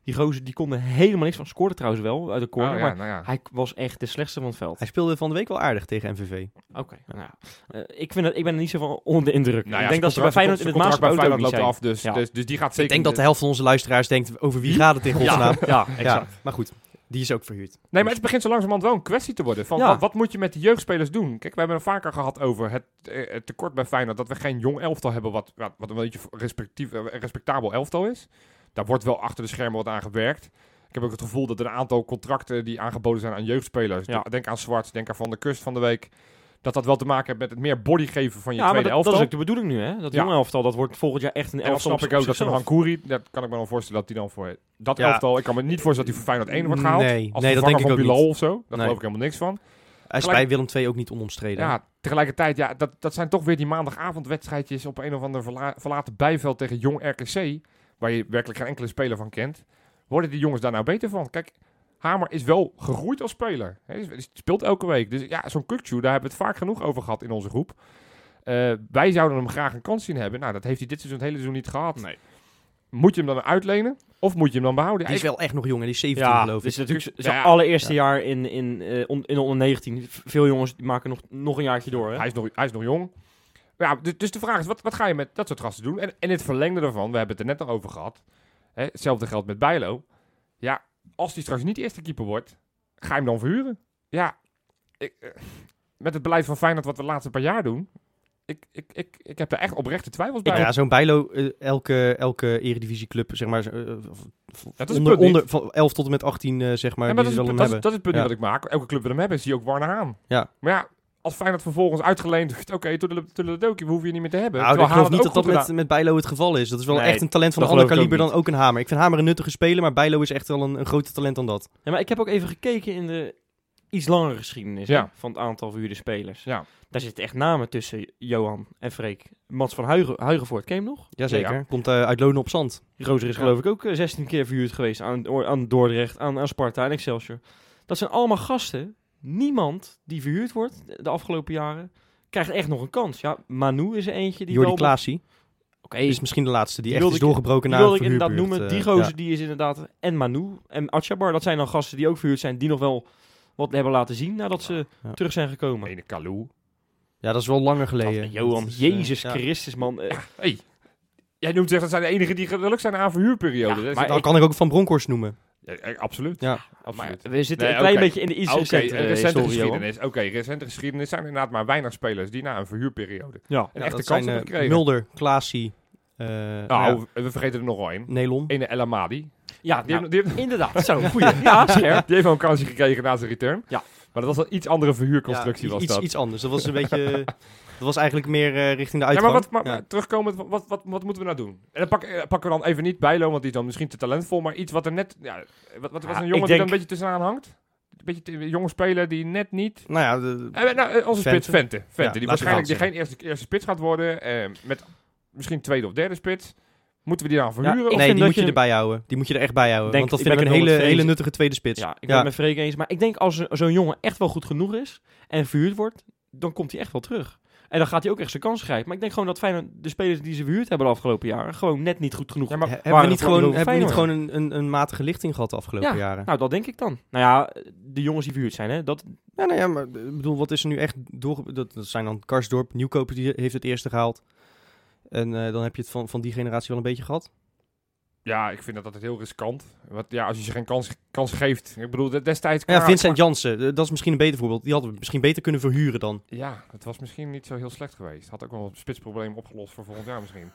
Speaker 4: Die gozer die kon er helemaal niks van. Scoorde trouwens wel uit de corner.
Speaker 3: Oh, ja,
Speaker 4: maar
Speaker 3: nou ja.
Speaker 4: hij was echt de slechtste van het veld.
Speaker 2: Hij speelde van de week wel aardig tegen MVV.
Speaker 4: Oké, nou ja. Eh, ik, vind dat, ik ben er niet zo van onder de indruk.
Speaker 3: Nou ja,
Speaker 4: ik denk
Speaker 3: zijn
Speaker 4: dat ze bij Feyenoord
Speaker 3: contract-
Speaker 4: in het
Speaker 3: zijn contract bij
Speaker 4: maatschappij ook
Speaker 3: Feyenoord
Speaker 4: niet zijn.
Speaker 3: loopt af, dus,
Speaker 4: Ja.
Speaker 3: dus, dus die gaat
Speaker 2: ik
Speaker 3: zeker... Hm?
Speaker 2: denk dat de helft van onze luisteraars denkt, over wie gaat het in godsnaam?
Speaker 4: Ja,
Speaker 2: Ja,
Speaker 4: exact.
Speaker 2: maar goed, die is ook verhuurd.
Speaker 3: Nee, maar het begint zo langzamerhand wel een kwestie te worden. Van
Speaker 4: Ja.
Speaker 3: wat, wat moet je met de jeugdspelers doen? Kijk, we hebben het vaker gehad over het, eh, het tekort bij Feyenoord... dat we geen jong elftal hebben wat, wat, wat een beetje respectief, eh, respectabel elftal is. Daar wordt wel achter de schermen wat aan gewerkt. Ik heb ook het gevoel dat een aantal contracten die aangeboden zijn aan jeugdspelers...
Speaker 4: Ja.
Speaker 3: Denk aan Zwarts, denk aan Van der Kust van de week... dat dat wel te maken heeft met het meer body geven van je
Speaker 4: Ja, maar
Speaker 3: tweede
Speaker 4: dat, dat
Speaker 3: elftal.
Speaker 4: is ook de bedoeling nu, hè? Dat
Speaker 3: Ja.
Speaker 4: jonge elftal, dat wordt volgend jaar echt een
Speaker 3: En dan
Speaker 4: elftal.
Speaker 3: snap
Speaker 4: op
Speaker 3: ik ook dat zo'n
Speaker 4: zichzelf.
Speaker 3: Hankouri, dat kan ik me dan voorstellen dat die dan voor dat
Speaker 2: Ja.
Speaker 3: elftal, ik kan me niet voorstellen dat hij voor Feyenoord 1 wordt gehaald.
Speaker 2: Nee,
Speaker 3: als
Speaker 2: nee, dat denk
Speaker 3: vervanger
Speaker 2: ik ook
Speaker 3: van Bilal
Speaker 2: niet.
Speaker 3: of zo, daar
Speaker 2: Nee.
Speaker 3: geloof ik helemaal niks van.
Speaker 2: Hij is
Speaker 3: Gelijk-
Speaker 2: bij Willem II ook niet onomstreden.
Speaker 3: Ja, tegelijkertijd, ja, dat, dat zijn toch weer die maandagavondwedstrijdjes op een of ander verla- verlaten bijveld tegen Jong RKC, waar je werkelijk geen enkele speler van kent. Worden die jongens daar nou beter van? Kijk, Hamer is wel gegroeid als speler. Hij is- hij speelt elke week. Dus ja, zo'n Kukcu, daar hebben we het vaak genoeg over gehad in onze groep. Eh, wij zouden hem graag een kans zien hebben. Nou, dat heeft hij dit seizoen het hele seizoen niet gehad.
Speaker 4: Nee.
Speaker 3: Moet je hem dan uitlenen? Of moet je hem dan behouden?
Speaker 2: Die is
Speaker 3: Ja, ik-
Speaker 2: wel echt nog jong, hè, die is 17
Speaker 4: Ja,
Speaker 2: geloof ik.
Speaker 4: dit is natuurlijk z-
Speaker 3: Ja, dus
Speaker 4: zijn
Speaker 3: ja.
Speaker 4: allereerste jaar in, in, eh, on- in de onder 19. V- Veel jongens die maken nog, nog een jaartje door, hè?
Speaker 3: hij, is nog, hij is nog jong. Ja, dus, dus de vraag is, wat, wat ga je met dat soort gasten doen? En, en in het verlengde daarvan, we hebben het er net nog over gehad. Hè, hetzelfde geldt met Bijlo. Ja, als die straks niet eerste keeper wordt, ga je hem dan verhuren? Ja, ik, eh, met het beleid van Feyenoord wat we de laatste paar jaar doen... Ik, ik, ik, ik heb daar echt oprechte twijfels bij.
Speaker 2: Ja, zo'n Bijlo, eh, elke, elke eredivisieclub, zeg maar, eh, of- of
Speaker 3: het
Speaker 2: onder,
Speaker 3: punt niet.
Speaker 2: onder van 11 tot en met 18, eh, zeg maar,
Speaker 3: Ja,
Speaker 2: die
Speaker 3: maar dat, is het,
Speaker 2: zal hem
Speaker 3: punt- dat, is,
Speaker 2: hebben.
Speaker 3: dat is het punt
Speaker 2: Ja.
Speaker 3: wat ik maak. Elke club wil hem hebben. Zie je ook Warner aan.
Speaker 2: Ja.
Speaker 3: Maar ja, als Feyenoord vervolgens uitgeleend heeft... Oké, okay, toedeledokie, eh, we hoeven je niet meer te hebben. Terwijl
Speaker 2: Nou, ik geloof
Speaker 3: Haaland
Speaker 2: niet
Speaker 3: ook
Speaker 2: dat dat
Speaker 3: goed
Speaker 2: met,
Speaker 3: gedaan-
Speaker 2: met Bijlo het geval is. Dat is wel
Speaker 4: Nee,
Speaker 2: echt een talent van een
Speaker 3: dat
Speaker 2: ander
Speaker 3: geloof ik ook
Speaker 2: kaliber dan ook een Hamer. Ik vind Hamer een nuttige speler, maar Bijlo is echt wel een, een groter talent dan dat.
Speaker 4: Ja, maar ik heb ook even gekeken in de iets langere geschiedenis hè,
Speaker 3: Ja.
Speaker 4: van het aantal verhuurde spelers.
Speaker 3: Ja.
Speaker 4: Daar zitten echt namen tussen Johan en Freek. Mats van Huigen, Huigenvoort, ken je hem nog?
Speaker 2: Jazeker.
Speaker 3: Ja,
Speaker 2: Komt eh, uit Lonen op Zand.
Speaker 4: Rozer is
Speaker 3: Ja.
Speaker 4: geloof ik ook eh, 16 keer verhuurd geweest aan, oor- aan Dordrecht, aan, aan Sparta en Excelsior. Dat zijn allemaal gasten. Niemand die verhuurd wordt de- de afgelopen jaren krijgt echt nog een kans. Ja, Manu is er eentje die
Speaker 2: Jordi
Speaker 4: wel...
Speaker 2: Klaasie
Speaker 4: Oké,
Speaker 2: is misschien de laatste die,
Speaker 4: Die
Speaker 2: echt
Speaker 4: wilde
Speaker 2: is
Speaker 4: ik-
Speaker 2: doorgebroken
Speaker 4: die
Speaker 2: na
Speaker 4: wilde
Speaker 2: een
Speaker 4: ik inderdaad noemen.
Speaker 2: verhuurbeurt,
Speaker 4: die
Speaker 2: eh,
Speaker 4: gozer die is inderdaad... En Manu en Atjabar, dat zijn dan gasten die ook verhuurd zijn. Die nog wel wat hebben laten zien nadat ze
Speaker 2: Ja.
Speaker 4: terug zijn gekomen.
Speaker 3: Ene Kalou.
Speaker 2: ja. ja, dat is wel langer
Speaker 4: Dat-
Speaker 2: geleden.
Speaker 4: Johan,
Speaker 2: Dat is, eh,
Speaker 4: Jezus
Speaker 2: ja.
Speaker 4: Christus, man. Eh,
Speaker 3: Hey, jij noemt zich dat zijn de enigen die gelukkig zijn aan verhuurperiode.
Speaker 4: Ja,
Speaker 3: Dat is-
Speaker 4: maar-
Speaker 2: Dan kan ik ook Van Bronkhorst noemen.
Speaker 3: Ja, eh, absoluut.
Speaker 2: Ja.
Speaker 3: absoluut.
Speaker 4: we zitten
Speaker 3: Nee,
Speaker 4: een klein
Speaker 3: oké.
Speaker 4: beetje in de iets
Speaker 2: Ah,
Speaker 3: Oké,
Speaker 4: recentere,
Speaker 3: eh, recente
Speaker 4: historie, Johan.
Speaker 3: geschiedenis. Oké, recente geschiedenis zijn inderdaad maar weinig spelers die na een verhuurperiode
Speaker 4: Ja.
Speaker 3: een
Speaker 2: Ja,
Speaker 3: echte kans
Speaker 2: dat zijn,
Speaker 3: hebben
Speaker 2: eh,
Speaker 3: gekregen.
Speaker 2: Mulder, Klaasie, eh
Speaker 3: nou,
Speaker 2: nou, ja,
Speaker 3: we- we vergeten er nog wel een.
Speaker 2: Nelon.
Speaker 3: Ene El Amadi. Die,
Speaker 4: Ja, nou,
Speaker 3: heeft, die, heeft,
Speaker 4: inderdaad. Zo, goeie. Ja, scherp.
Speaker 3: die heeft wel een kansje gekregen na zijn return.
Speaker 4: Ja.
Speaker 3: Maar dat was een iets andere verhuurconstructie
Speaker 2: Ja,
Speaker 3: was
Speaker 2: iets,
Speaker 3: dat.
Speaker 2: iets anders. Dat was een beetje... Dat was eigenlijk meer eh, richting de
Speaker 3: ja,
Speaker 2: uitgang.
Speaker 3: maar, wat, maar,
Speaker 2: Ja.
Speaker 3: maar terugkomend, wat, wat, wat, wat moeten we nou doen? En dan pak- eh, pakken we dan even niet Bijlo, want die is dan misschien te talentvol, maar iets wat er net... Ja, eh, wat, wat
Speaker 2: Ah,
Speaker 3: was
Speaker 4: Ja,
Speaker 3: een jongen
Speaker 4: ik
Speaker 3: die
Speaker 4: denk-
Speaker 3: dan een beetje tussenaan hangt? Een beetje te- een jonge speler die net niet...
Speaker 2: Nou ja, de-
Speaker 3: Eh, nou, eh, onze
Speaker 2: Vente.
Speaker 3: spits Vente. Vente,
Speaker 2: Ja,
Speaker 3: die
Speaker 2: laten we
Speaker 3: waarschijnlijk die
Speaker 2: Vente
Speaker 3: geen eerste, eerste spits gaat worden. eh, met misschien tweede of derde spits. Moeten we die dan verhuren?
Speaker 4: ik-
Speaker 3: of-
Speaker 2: nee,
Speaker 4: vind
Speaker 2: die
Speaker 4: dat
Speaker 2: moet je,
Speaker 4: je-
Speaker 2: erbij houden. Die moet je er echt bij houden.
Speaker 4: Denk-
Speaker 2: want dat
Speaker 4: ik
Speaker 2: vind ik
Speaker 4: ben
Speaker 2: een
Speaker 4: het
Speaker 2: hele,
Speaker 4: wel met Vrees.
Speaker 2: hele nuttige tweede spits.
Speaker 4: Ja, ik ben
Speaker 2: Ja.
Speaker 4: het met Freek eens. Maar ik denk als zo- zo'n jongen echt wel goed genoeg is en verhuurd wordt, dan komt hij echt wel terug. En dan gaat hij ook echt zijn kans krijgen. Maar ik denk gewoon dat Feyenoord, de spelers die ze verhuurd hebben de afgelopen jaren, gewoon net niet goed genoeg.
Speaker 3: Ja,
Speaker 2: He-
Speaker 3: maar
Speaker 2: hebben we
Speaker 4: waren
Speaker 2: niet
Speaker 4: het voor
Speaker 2: gewoon,
Speaker 4: de
Speaker 2: hebben we niet gewoon
Speaker 4: Feyenoord?
Speaker 2: een, een, een matige lichting gehad de afgelopen
Speaker 4: Ja.
Speaker 2: jaren?
Speaker 4: Nou, dat denk ik dan. Nou ja, de jongens die verhuurd zijn, hè. Dat,
Speaker 2: Ja, nou ja, maar eh, ik bedoel, wat is er nu echt door... Dat, dat zijn dan Karsdorp, Nieuwkoper die heeft het eerste gehaald. En eh, dan heb je het van, van die generatie wel een beetje gehad.
Speaker 3: Ja, ik vind dat altijd heel riskant. Want ja, als je ze geen kans, kans geeft. Ik bedoel, de- destijds...
Speaker 2: Ja, Vincent Jansen, eh, dat is misschien een beter voorbeeld. Die hadden we misschien beter kunnen verhuren dan.
Speaker 3: Ja, het was misschien niet zo heel slecht geweest. Had ook wel een spitsprobleem opgelost voor volgend jaar misschien.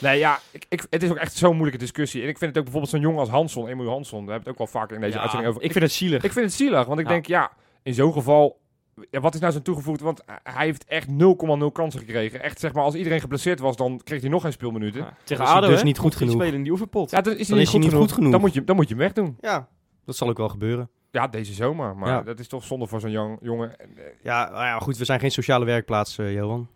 Speaker 3: nee, ja, ik, ik, het is ook echt zo'n moeilijke discussie. En ik vind het ook bijvoorbeeld zo'n jongen als Hanson, Emu Hanson. Daar hebben we het ook wel vaak in deze
Speaker 4: Ja,
Speaker 3: uitzending over.
Speaker 4: Ik vind het zielig.
Speaker 3: Ik vind het zielig, want ik
Speaker 4: Ja.
Speaker 3: denk, ja, in zo'n geval... Ja, wat is nou zijn toegevoegd? Want hij heeft echt 0,0 kansen gekregen. Echt, zeg maar, als iedereen geblesseerd was, dan kreeg hij nog geen speelminuten.
Speaker 4: Ja, tegen
Speaker 2: is hij
Speaker 4: ADO,
Speaker 2: dus
Speaker 4: hè?
Speaker 2: niet goed
Speaker 4: Die
Speaker 2: genoeg.
Speaker 4: spelen in die oefenpot.
Speaker 3: Ja, dan is
Speaker 2: Dan
Speaker 3: hij niet, goed, genoeg.
Speaker 2: genoeg.
Speaker 3: Dan, moet je, dan moet je hem wegdoen.
Speaker 2: Ja, dat zal ook wel gebeuren.
Speaker 3: Ja, deze zomer. Maar
Speaker 2: Ja.
Speaker 3: dat is toch zonde voor zo'n jong, jongen. En, eh,
Speaker 2: Ja, nou ja, goed, we zijn geen sociale werkplaats, eh, Johan.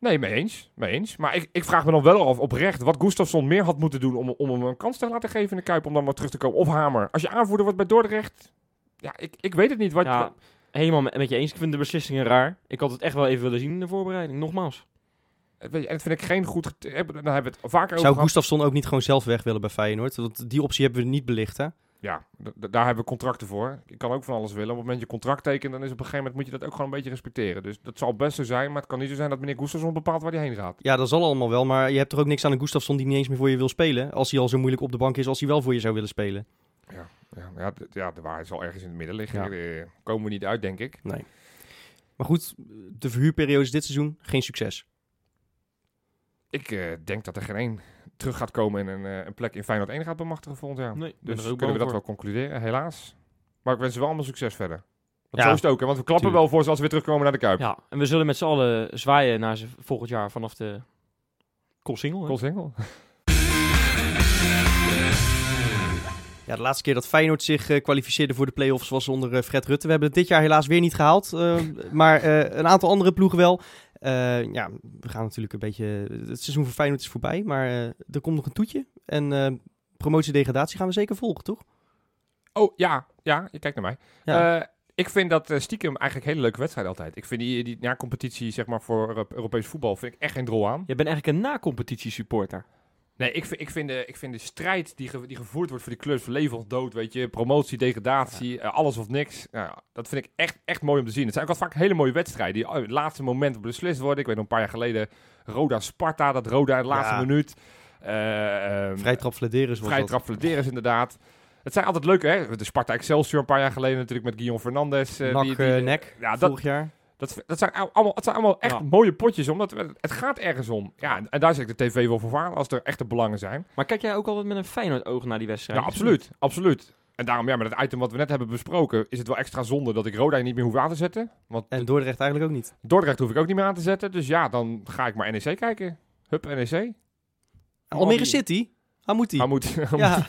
Speaker 3: Nee, mee eens. Mee eens. Maar ik, ik vraag me dan wel af oprecht wat Gustafsson meer had moeten doen om, om hem een kans te laten geven in de Kuip om dan maar terug te komen. Of Hamer. Als je aanvoerder wordt bij Dordrecht. Ja, ik, ik weet het niet. Wat,
Speaker 4: Ja, helemaal me- met je eens. Ik vind de beslissingen raar. Ik had het echt wel even willen zien in de voorbereiding. Nogmaals.
Speaker 3: wat- weet je, en dat vind ik geen goed... gete- eh, Daar hebben we het vaker
Speaker 2: Zou
Speaker 3: over gehad.
Speaker 2: Gustafsson ook niet gewoon zelf weg willen bij Feyenoord? Want die optie hebben we niet belicht, hè?
Speaker 3: Ja, d- d- daar hebben we contracten voor. Ik kan ook van alles willen. Op het moment dat je contract tekent, dan is op een gegeven moment moet je dat ook gewoon een beetje respecteren. Dus dat zal best zo zijn, maar het kan niet zo zijn dat meneer Gustafsson bepaalt waar hij heen gaat.
Speaker 2: Ja, dat zal allemaal wel, maar je hebt toch ook niks aan een Gustafsson die niet eens meer voor je wil spelen? Als hij al zo moeilijk op de bank is, als hij wel voor je zou willen spelen.
Speaker 3: Ja, ja, d- ja, de waarheid zal ergens in het midden liggen.
Speaker 2: Ja.
Speaker 3: Daar komen we niet uit, denk ik.
Speaker 2: Maar goed, de verhuurperiode is dit seizoen geen succes.
Speaker 3: Ik eh, denk dat er geen één terug gaat komen en een, eh, een plek in Feyenoord 1 gaat bemachtigen volgend jaar.
Speaker 4: Nee, ik ben
Speaker 3: dus
Speaker 4: er ook
Speaker 3: kunnen we
Speaker 4: bang
Speaker 3: dat
Speaker 4: voor.
Speaker 3: wel concluderen, helaas. Maar ik wens ze wel allemaal succes verder. Want
Speaker 2: Ja.
Speaker 3: zo is het ook, hè, want we klappen wel
Speaker 2: Tuurlijk.
Speaker 3: voor ze als ze weer terugkomen naar de Kuip.
Speaker 4: Ja, en we zullen met z'n allen zwaaien naar ze volgend jaar vanaf de Koolsingel. hè?
Speaker 3: Cool single.
Speaker 2: Ja, de laatste keer dat Feyenoord zich eh, kwalificeerde voor de play-offs was onder eh, Fred Rutte. We hebben het dit jaar helaas weer niet gehaald, eh, maar eh, een aantal andere ploegen wel. Eh, ja, we gaan natuurlijk een beetje... Het seizoen voor Feyenoord is voorbij, maar eh, er komt nog een toetje. En eh, promotie-degradatie gaan we zeker volgen, toch?
Speaker 3: Oh, ja, ja, je kijkt naar mij.
Speaker 2: Ja.
Speaker 3: Eh, ik vind dat eh, stiekem eigenlijk hele leuke wedstrijd altijd. Ik vind die, die na-competitie zeg maar, voor Euro- Europees voetbal vind ik echt geen drol aan.
Speaker 4: Je bent eigenlijk een na-competitie supporter.
Speaker 3: Nee, ik, vind- ik, vind de, ik vind de strijd die, ge- die gevoerd wordt voor die clubs, leven of dood, weet je, promotie, degradatie, eh, alles of niks. Nou, ja, dat vind ik echt, echt mooi om te zien. Het zijn ook altijd vaak hele mooie wedstrijden die op het laatste moment beslist worden. Ik weet nog een paar jaar geleden Roda-Sparta, dat Roda in de laatste
Speaker 2: Ja.
Speaker 3: minuut. Eh, ehm,
Speaker 2: Vrijtrap Vladeris was
Speaker 3: Vrij
Speaker 2: dat.
Speaker 3: trap Flederis, inderdaad. Het zijn altijd leuke, hè? De Sparta Excelsior een paar jaar geleden natuurlijk met Guillaume Fernandes. eh,
Speaker 2: Nak,
Speaker 3: die- die-
Speaker 2: eh, nek,
Speaker 3: ja, dat,
Speaker 2: vorig jaar.
Speaker 3: dat, dat, zijn al- allemaal, het zijn allemaal echt
Speaker 4: Ja.
Speaker 3: mooie potjes, omdat we- het gaat ergens om. Ja, en, en daar zit ik de tv wel voor waar, als er echte belangen zijn.
Speaker 4: Maar kijk jij ook altijd met een Feyenoord oog naar die wedstrijd?
Speaker 3: Ja, absoluut. Absoluut. En daarom, ja, met het item wat we net hebben besproken, is het wel extra zonde dat ik Roda niet meer hoef aan te zetten. Want
Speaker 2: En Dordrecht eigenlijk ook niet.
Speaker 3: Dordrecht hoef ik ook niet meer aan te zetten. Dus ja, dan ga ik maar NEC kijken. Hup, E NEC.
Speaker 2: Almere City? Waar moet hij?
Speaker 3: Hamouti.
Speaker 2: Ja.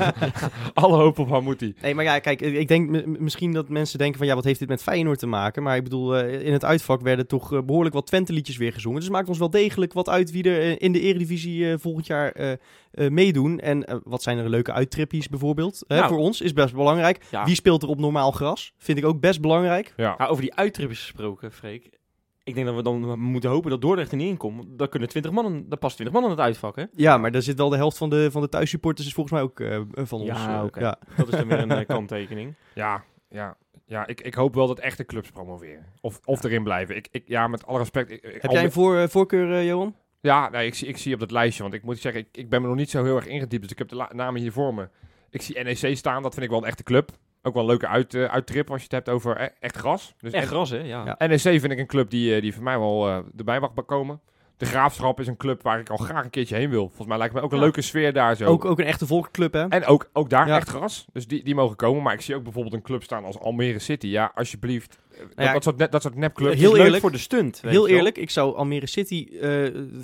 Speaker 3: Alle hoop op Hamouti.
Speaker 2: Nee, maar ja, kijk, ik ik denk mi- mi- misschien dat mensen denken van ja, wat heeft dit met Feyenoord te maken? Maar ik bedoel, eh, in het uitvak werden toch eh, behoorlijk wat Twente-liedjes weer gezongen. Dus het maakt ons wel degelijk wat uit wie er eh, in de Eredivisie eh, volgend jaar eh, eh, meedoen. En eh, wat zijn er leuke uittrippies bijvoorbeeld? Hè,
Speaker 4: Nou.
Speaker 2: voor ons is best belangrijk.
Speaker 4: Ja.
Speaker 2: Wie speelt er op normaal gras? Vind ik ook best belangrijk.
Speaker 3: Ja.
Speaker 4: Ja, over die uittrip is gesproken, Freek. Ik denk dat we dan moeten hopen dat Dordrecht er niet in komt. Want Daar kunnen 20 mannen, daar past 20 mannen aan het uitvak, hè?
Speaker 2: Ja, maar daar zit wel de helft van de, van de thuissupporters is volgens mij ook eh, van
Speaker 4: Ja,
Speaker 2: ons. eh,
Speaker 4: oké.
Speaker 2: ja.
Speaker 4: Dat is dan weer een eh, kanttekening.
Speaker 3: Ja, ja. Ja, ik, ik hoop wel dat echte clubs promoveren. Of, of erin blijven. Ik, ik, ja, met alle respect. Ik, ik-
Speaker 2: Heb jij een voor, eh, voorkeur, eh, Johan?
Speaker 3: Ja, nee, ik, zie, ik zie op dat lijstje. Want ik moet zeggen, ik, ik ben me nog niet zo heel erg ingediept. Dus ik heb de la- namen hier voor me. Ik zie NEC staan. Dat vind ik wel een echte club. Ook wel een leuke uit, eh, uittrip als je het hebt over eh, echt gras. Dus
Speaker 4: Echt gras, hè? Ja.
Speaker 2: Ja.
Speaker 3: NEC vind ik een club die, eh, die voor mij wel eh, erbij mag komen. De Graafschap is een club waar ik al graag een keertje heen wil. Volgens mij lijkt me ook een
Speaker 4: Ja.
Speaker 3: leuke sfeer daar zo.
Speaker 2: Ook, ook een echte volkclub, hè?
Speaker 3: En ook, ook daar
Speaker 2: Ja.
Speaker 3: echt gras. Dus die, die mogen komen. Maar ik zie ook bijvoorbeeld een club staan als Almere City. Ja, alsjeblieft. Eh, Dat,
Speaker 2: ja,
Speaker 3: dat soort, ne- dat soort nepclubs.
Speaker 4: Heel
Speaker 2: Heel
Speaker 4: leuk
Speaker 2: eerlijk-
Speaker 4: voor de stunt. weet
Speaker 2: Heel
Speaker 4: je wel.
Speaker 2: eerlijk, ik zou Almere City, eh,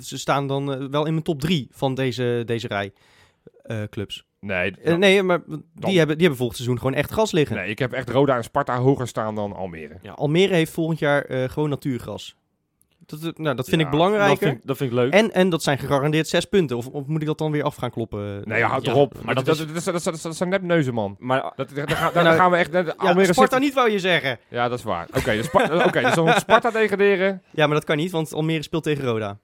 Speaker 2: ze staan dan eh, wel in mijn top drie van deze, deze rij eh, clubs.
Speaker 3: Nee,
Speaker 2: Eh,
Speaker 3: nou,
Speaker 2: nee, maar die hebben, die hebben volgend seizoen gewoon echt gas liggen.
Speaker 3: nee, ik heb echt Roda en Sparta hoger staan dan Almere.
Speaker 2: Almere heeft volgend jaar eh, gewoon natuurgas. Dat, eh, nou, dat vind
Speaker 3: Ja,
Speaker 2: ik
Speaker 4: Dat
Speaker 2: belangrijker.
Speaker 4: vind, ik- dat vind ik leuk.
Speaker 2: En, en dat zijn gegarandeerd zes punten. Of, of moet ik dat dan weer af gaan kloppen?
Speaker 3: Nee, ja, houd
Speaker 4: Ja,
Speaker 3: toch op.
Speaker 4: maar
Speaker 3: Maar dat,
Speaker 4: dat
Speaker 3: dat, dat, dat, dat- dat zijn nepneuzen, man.
Speaker 4: Maar
Speaker 3: Dat, dat, daar gaan- daar gaan we echt... dat-
Speaker 2: Nou, Ja,
Speaker 3: Almere
Speaker 2: Sparta
Speaker 3: City...
Speaker 2: niet, wou je zeggen.
Speaker 3: Ja, dat is waar. Oké, dus, Sparta, oké, dus dan moet Sparta degraderen.
Speaker 2: Ja, maar dat kan niet, want Almere speelt tegen Roda.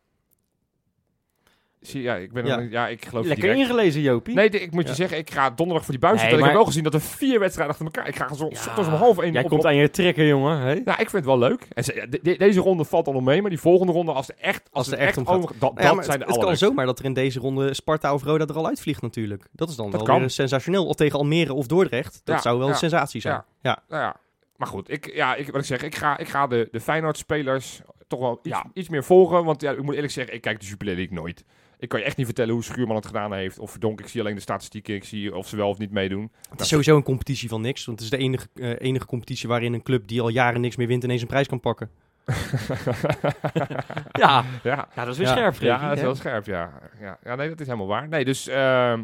Speaker 3: Zie, ja, ik ben er
Speaker 2: Ja.
Speaker 3: nog niet- ja, ik geloof
Speaker 4: Lekker
Speaker 3: direct.
Speaker 4: ingelezen, Jopie.
Speaker 3: Nee, de- ik moet je
Speaker 2: Ja.
Speaker 3: zeggen, ik ga donderdag voor die buis
Speaker 4: Nee,
Speaker 3: zitten. En Ik
Speaker 4: maar-
Speaker 3: heb wel gezien dat er vier wedstrijden achter elkaar... Ik ga zo,
Speaker 4: Ja.
Speaker 3: ochtends om half één
Speaker 4: Jij
Speaker 3: op,
Speaker 4: komt aan je trekken, jongen. hè?
Speaker 3: Nou, ik vind het wel leuk. En ze- ja, de- de- deze ronde valt al nog mee, maar die volgende ronde, als er echt, als
Speaker 2: Als
Speaker 3: het
Speaker 2: er echt
Speaker 3: echt
Speaker 2: om gaat.
Speaker 3: over- dat,
Speaker 2: Nou Ja, maar
Speaker 3: dat
Speaker 2: het-
Speaker 3: zijn de
Speaker 2: het kan
Speaker 3: allerleukste.
Speaker 2: zomaar dat er in deze ronde Sparta of Roda er al uitvliegt natuurlijk. Dat is dan wel
Speaker 3: kan.
Speaker 2: weer sensationeel. Of tegen Almere of Dordrecht. Dat
Speaker 3: Ja,
Speaker 2: zou wel
Speaker 3: ja,
Speaker 2: een sensatie zijn.
Speaker 3: ja.
Speaker 2: Ja.
Speaker 3: Nou ja, maar goed, ik, ja, ik, wat ik zeg, ik ga, ik ga de, de Feyenoord-spelers toch wel iets,
Speaker 4: Ja.
Speaker 3: iets meer volgen. Want ja, ik moet eerlijk zeggen, ik kijk de Jupiler League nooit. Ik kan je echt niet vertellen hoe Schuurman het gedaan heeft. Of Verdonk, ik zie alleen de statistieken. Ik zie of ze wel of niet meedoen.
Speaker 2: Het is sowieso een competitie van niks. Want het is de enige, eh, enige competitie waarin een club die al jaren niks meer wint ineens een prijs kan pakken.
Speaker 4: Ja.
Speaker 3: ja,
Speaker 4: ja, dat is weer
Speaker 2: Ja.
Speaker 4: scherp, Frenkie,
Speaker 3: ja, dat is
Speaker 4: hè?
Speaker 3: wel scherp, ja. ja. Ja, nee, dat is helemaal waar. Nee, dus... ehm,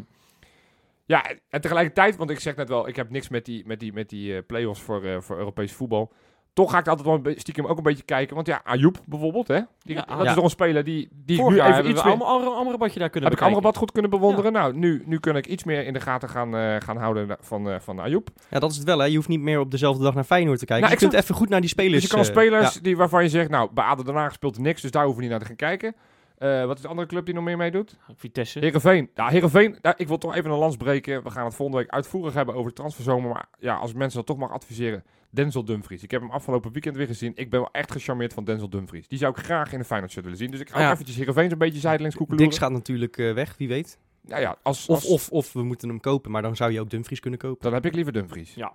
Speaker 3: ja, en tegelijkertijd, want ik zeg net wel, ik heb niks met die, met die, met die eh, play-offs voor, eh, voor Europees voetbal. Toch ga ik altijd wel een be- stiekem ook een beetje kijken. Want ja, Ayoub bijvoorbeeld, hè. Die,
Speaker 4: Ja,
Speaker 3: dat
Speaker 2: ja.
Speaker 3: is toch een speler die, die ik
Speaker 4: Vorig
Speaker 3: nu
Speaker 4: jaar
Speaker 3: even
Speaker 4: hebben
Speaker 3: iets
Speaker 4: we
Speaker 3: meer...
Speaker 4: allemaal andere, andere badje daar kunnen
Speaker 3: Heb ik
Speaker 4: bekijken.
Speaker 3: Amrabat goed kunnen bewonderen? Nou, nu, nu kun ik iets meer in de gaten gaan, eh, gaan houden na- van, eh van Ayoub.
Speaker 2: Ja, dat is het wel hè. Je hoeft niet meer op dezelfde dag naar Feyenoord te kijken.
Speaker 3: Nou,
Speaker 2: Dus je
Speaker 3: ik
Speaker 2: kunt even goed naar die spelers.
Speaker 3: dus je kan
Speaker 2: eh,
Speaker 3: spelers
Speaker 2: ja.
Speaker 3: die, waarvan je zegt, nou, bij ADO Den Haag speelt er niks, dus daar hoeven we niet naar te gaan kijken. Eh, wat is de andere club die nog meer meedoet?
Speaker 4: Vitesse.
Speaker 3: Heerenveen. Ja, Heerenveen, nou, ik wil toch even een lans breken. We gaan het volgende week uitvoerig hebben over de transferzomer. Maar ja, als ik mensen dat toch mag adviseren, Denzel Dumfries. Ik heb hem afgelopen weekend weer gezien. Ik ben wel echt gecharmeerd van Denzel Dumfries. Die zou ik graag in de Feyenoord shirt willen zien. Dus ik
Speaker 2: Ah
Speaker 3: ga
Speaker 4: Ja.
Speaker 3: ook eventjes Heerenveen een beetje zijdelings koekeloeren.
Speaker 2: Dix gaat natuurlijk eh, weg, wie weet.
Speaker 3: Nou ja, als,
Speaker 2: Of,
Speaker 3: als-
Speaker 2: of, of we moeten hem kopen, maar dan zou je ook Dumfries kunnen kopen.
Speaker 3: Dan heb ik liever Dumfries.
Speaker 4: Ja.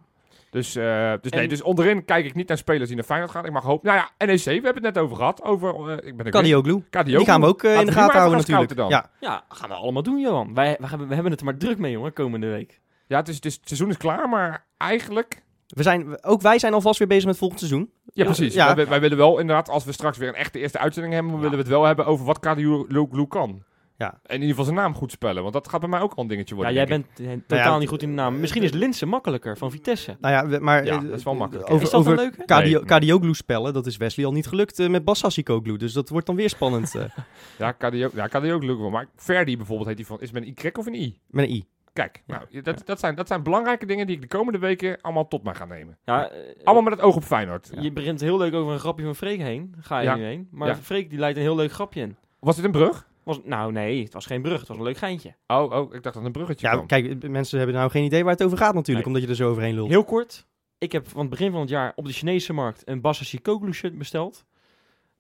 Speaker 3: Dus, eh, dus, nee,
Speaker 4: En-
Speaker 3: dus onderin kijk ik niet naar spelers die naar Feyenoord gaan. Ik mag hopen. Nou ja, NEC, we hebben het net over gehad. Over, eh, ik ben er weer.
Speaker 2: Kadioglu.
Speaker 3: Kadioglu.
Speaker 2: Die gaan we ook eh, in
Speaker 3: Laten
Speaker 2: de
Speaker 3: we die
Speaker 2: gaten
Speaker 3: maar
Speaker 2: houden
Speaker 3: even gaan
Speaker 2: natuurlijk.
Speaker 3: scouten dan.
Speaker 2: Ja,
Speaker 4: Ja, gaan we allemaal doen, Johan. Wij, wij hebben, we hebben het er maar druk mee, jongen, komende week.
Speaker 3: Ja, het, is, het, is- het seizoen is klaar, maar eigenlijk...
Speaker 2: we zijn, ook wij zijn alvast weer bezig met volgend seizoen.
Speaker 3: Ja,
Speaker 2: Ja,
Speaker 3: precies.
Speaker 2: ja.
Speaker 3: Wij, wij willen wel inderdaad, als we straks weer een echte eerste uitzending hebben,
Speaker 4: Ja.
Speaker 3: willen we het wel hebben over wat Kadioglu kan.
Speaker 2: Ja.
Speaker 3: En in ieder geval zijn naam goed spellen, want dat gaat bij mij ook al een dingetje
Speaker 4: Ja,
Speaker 3: worden.
Speaker 4: jij
Speaker 3: denk ik.
Speaker 4: bent eh, totaal niet goed in de naam. Misschien is Linse makkelijker van Vitesse.
Speaker 2: Nou ja, we- maar...
Speaker 3: Ja,
Speaker 2: eh,
Speaker 3: dat is wel makkelijk.
Speaker 2: Over,
Speaker 4: is dat
Speaker 2: over
Speaker 4: een leuke?
Speaker 3: Nee,
Speaker 2: Kadio,
Speaker 3: maar-
Speaker 2: Kadioglu spellen, dat is Wesley al niet gelukt eh, met Bassassikoglu. Dus dat wordt dan weer spannend. eh,
Speaker 3: Ja, Kadio- ja, Kadioglu wel. Maar Verdi bijvoorbeeld, heet die van, is met een Y of een I?
Speaker 2: met een I.
Speaker 3: Kijk,
Speaker 4: Ja.
Speaker 3: nou, dat, dat, zijn, dat zijn belangrijke dingen die ik de komende weken allemaal tot mij ga nemen.
Speaker 4: Ja, eh,
Speaker 3: Allemaal met het oog op Feyenoord.
Speaker 4: Je begint heel leuk over een grapje van Freek heen. Ga je
Speaker 3: Ja.
Speaker 4: nu heen. Maar
Speaker 3: Ja.
Speaker 4: Freek die leidt een heel leuk grapje in.
Speaker 3: Was dit een brug?
Speaker 4: Was, nou nee, het was geen brug. Het was een leuk geintje.
Speaker 3: Oh, oh ik dacht dat het een bruggetje
Speaker 2: Ja,
Speaker 3: kwam.
Speaker 2: kijk, eh, mensen hebben nou geen idee waar het over gaat natuurlijk,
Speaker 4: Nee.
Speaker 2: omdat je er zo overheen lult.
Speaker 4: Heel kort. Ik heb van het begin van het jaar op de Chinese markt een Bassa Sikoglu shirt besteld.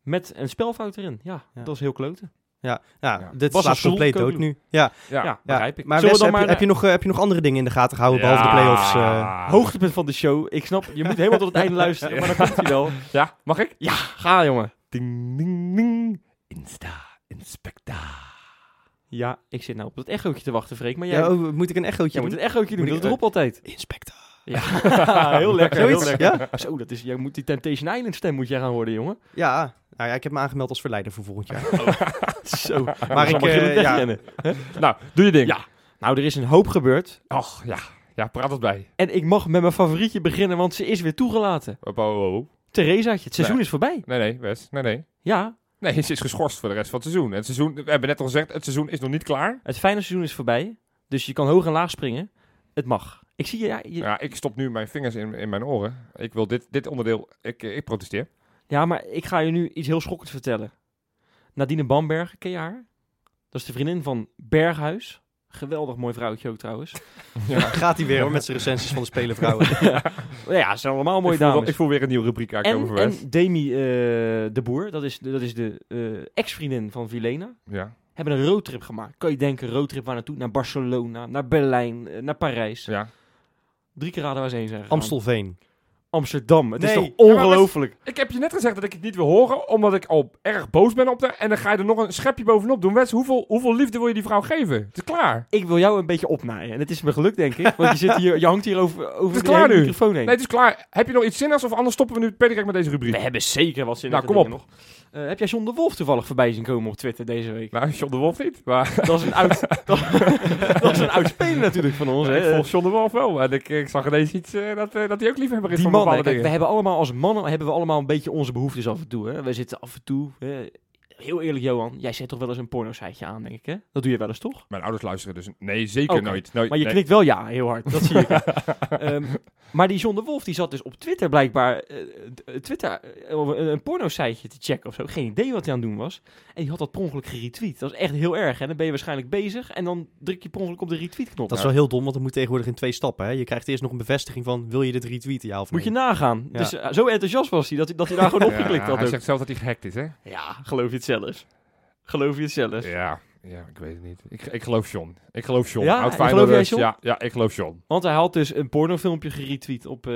Speaker 4: Met een spelfout erin. Ja,
Speaker 2: Ja.
Speaker 4: dat is heel kloten.
Speaker 2: Ja,
Speaker 3: Ja.
Speaker 2: ja, dit
Speaker 4: Bas
Speaker 2: slaat
Speaker 4: Azul,
Speaker 2: compleet dood
Speaker 4: Koglu.
Speaker 2: nu. Ja,
Speaker 3: Ja.
Speaker 4: Ja,
Speaker 2: ja.
Speaker 4: begrijp ik.
Speaker 2: Maar
Speaker 4: Zullen
Speaker 2: Wes,
Speaker 4: we
Speaker 2: heb,
Speaker 4: dan maar
Speaker 2: je- heb, je
Speaker 4: naar-
Speaker 2: nog, eh, heb je nog andere dingen in de gaten gehouden, behalve de play-offs? eh?
Speaker 4: Hoogtepunt van de show. Ik snap, je moet helemaal tot het einde luisteren. Maar dan komt hij wel.
Speaker 3: Ja, mag ik?
Speaker 4: Ja, ga jongen.
Speaker 3: Ding, ding, ding. Insta, inspecta.
Speaker 4: Ja, ik zit nou op het echootje te wachten, Freek. Maar jij,
Speaker 2: ja, oh, moet ik een echootje
Speaker 4: jij moet
Speaker 2: doen?
Speaker 4: het echootje doen.
Speaker 2: Moet
Speaker 4: Dat
Speaker 2: ik-
Speaker 4: roept altijd.
Speaker 2: Inspector.
Speaker 4: Ja, heel lekker. Heel
Speaker 2: Zoiets,
Speaker 4: lekker.
Speaker 2: ja?
Speaker 4: Zo, dat is, jij moet die Temptation Island stem moet jij gaan horen, jongen.
Speaker 2: Ja. Nou ja, ik heb me aangemeld als verleider voor volgend jaar.
Speaker 4: Zo.
Speaker 2: Maar ik, eh, ja.
Speaker 3: Nou, doe je ding.
Speaker 4: Ja. Nou, er is een hoop gebeurd.
Speaker 3: Och, ja. Ja, praat het bij.
Speaker 4: En ik mag met mijn favorietje beginnen, want ze is weer toegelaten.
Speaker 3: Op, oh, oh, oh.
Speaker 4: Theresaatje, het seizoen is voorbij.
Speaker 3: Nee, nee, Wes. Nee, nee.
Speaker 4: Ja,
Speaker 3: Nee, ze is geschorst voor de rest van het seizoen. Het seizoen, we hebben net al gezegd, het seizoen is nog niet klaar.
Speaker 4: het fijne seizoen is voorbij. Dus je kan hoog en laag springen. Het mag. Ik zie je... Ja, je-
Speaker 3: Ja, ik stop nu mijn vingers in, in mijn oren. Ik wil dit, dit onderdeel, ik, eh, ik protesteer.
Speaker 4: ja, maar ik ga je nu iets heel schokkends vertellen. Nadine Bambergen, ken je haar? Dat is de vriendin van Berghuis. Geweldig mooi vrouwtje ook trouwens.
Speaker 2: Gaat hij weer hoor, met zijn recensies van de spelenvrouwen.
Speaker 4: ja, ze zijn allemaal mooie
Speaker 3: ik voel, wel-
Speaker 4: dames.
Speaker 3: Ik voel weer een nieuwe rubriek aankomen
Speaker 4: En,
Speaker 3: voor Wes.
Speaker 4: en Demi eh, de Boer, dat is, dat is de eh, ex-vriendin van Vilena,
Speaker 3: Ja,
Speaker 4: hebben een roadtrip gemaakt. Kan je denken, roadtrip waar naartoe? Naar Barcelona, naar Berlijn, eh, naar Parijs.
Speaker 3: ja.
Speaker 4: Drie keer raden waar ze heen zijn gegaan.
Speaker 2: Amstelveen.
Speaker 4: Amsterdam, het
Speaker 2: Nee.
Speaker 4: is toch ongelooflijk?
Speaker 3: Ik heb je net gezegd dat ik het niet wil horen, omdat ik al erg boos ben op de. En dan ga je er nog een schepje bovenop doen. Wes, hoeveel, hoeveel liefde wil je die vrouw geven? Het is klaar.
Speaker 4: Ik wil jou een beetje opnaaien. En het is me gelukt, denk ik. Want je, zit hier, je hangt hier over, over
Speaker 3: is
Speaker 4: de
Speaker 3: klaar
Speaker 4: hele
Speaker 3: nu.
Speaker 4: microfoon heen.
Speaker 3: Nee, het is klaar. Heb je nog iets zinnigs of anders stoppen we nu per direct met deze rubriek?
Speaker 4: We hebben zeker wat zin
Speaker 3: Nou,
Speaker 4: in
Speaker 3: kom op.
Speaker 4: Nog. Eh, heb jij John de Wolf toevallig voorbij zien komen op Twitter deze week?
Speaker 3: Nou, John de Wolf niet. Maar
Speaker 4: Dat is een oud, dat, dat is een oud speler natuurlijk van ons.
Speaker 3: ik
Speaker 4: hè?
Speaker 3: volg John de Wolf wel. En ik, ik zag ineens iets eh, dat, eh, dat hij ook liefhebber is
Speaker 4: Die
Speaker 3: van
Speaker 4: mannen,
Speaker 3: bepaalde
Speaker 4: kijk, we
Speaker 3: dingen.
Speaker 4: hebben allemaal als mannen hebben we allemaal een beetje onze behoeftes af en toe. Hè? We zitten af en toe. Hè? heel eerlijk Johan, jij zet toch wel eens een porno-siteje aan, denk ik hè? Dat doe je wel eens toch?
Speaker 3: Mijn ouders luisteren dus. Nee, zeker
Speaker 4: Oké,
Speaker 3: nooit. nooit.
Speaker 4: Maar je
Speaker 3: nee.
Speaker 4: knikt wel ja, heel hard. Dat zie ik. Ehm, maar die John de Wolf, die zat dus op Twitter blijkbaar eh, eh, Twitter, eh, of een, een porno-siteje te checken of zo. Geen idee wat hij aan het doen was. En die had dat per ongeluk geretweet. Dat is echt heel erg. En dan ben je waarschijnlijk bezig en dan druk je per ongeluk op de retweet-knop.
Speaker 2: Dat is wel heel dom, want het moet tegenwoordig in twee stappen. Hè? Je krijgt eerst nog een bevestiging van, wil je dit retweeten, ja of nee?
Speaker 4: Moet je nagaan.
Speaker 2: Ja.
Speaker 4: Dus eh, zo enthousiast was hij dat hij, dat hij daar gewoon
Speaker 3: Ja,
Speaker 4: opgeklikt had.
Speaker 3: Hij
Speaker 4: ook.
Speaker 3: zegt zelf dat hij gehackt is, hè?
Speaker 4: Ja, geloof je het zelf. Geloof je het zelf.
Speaker 3: Ja, ja ik weet het niet. Ik, ik geloof John. Ik geloof John.
Speaker 4: Ja?
Speaker 3: Oud
Speaker 4: Geloof
Speaker 3: Feyenoord-
Speaker 4: jij John?
Speaker 3: Ja, ja, ik geloof John.
Speaker 4: Want hij had dus een pornofilmpje geretweet op eh,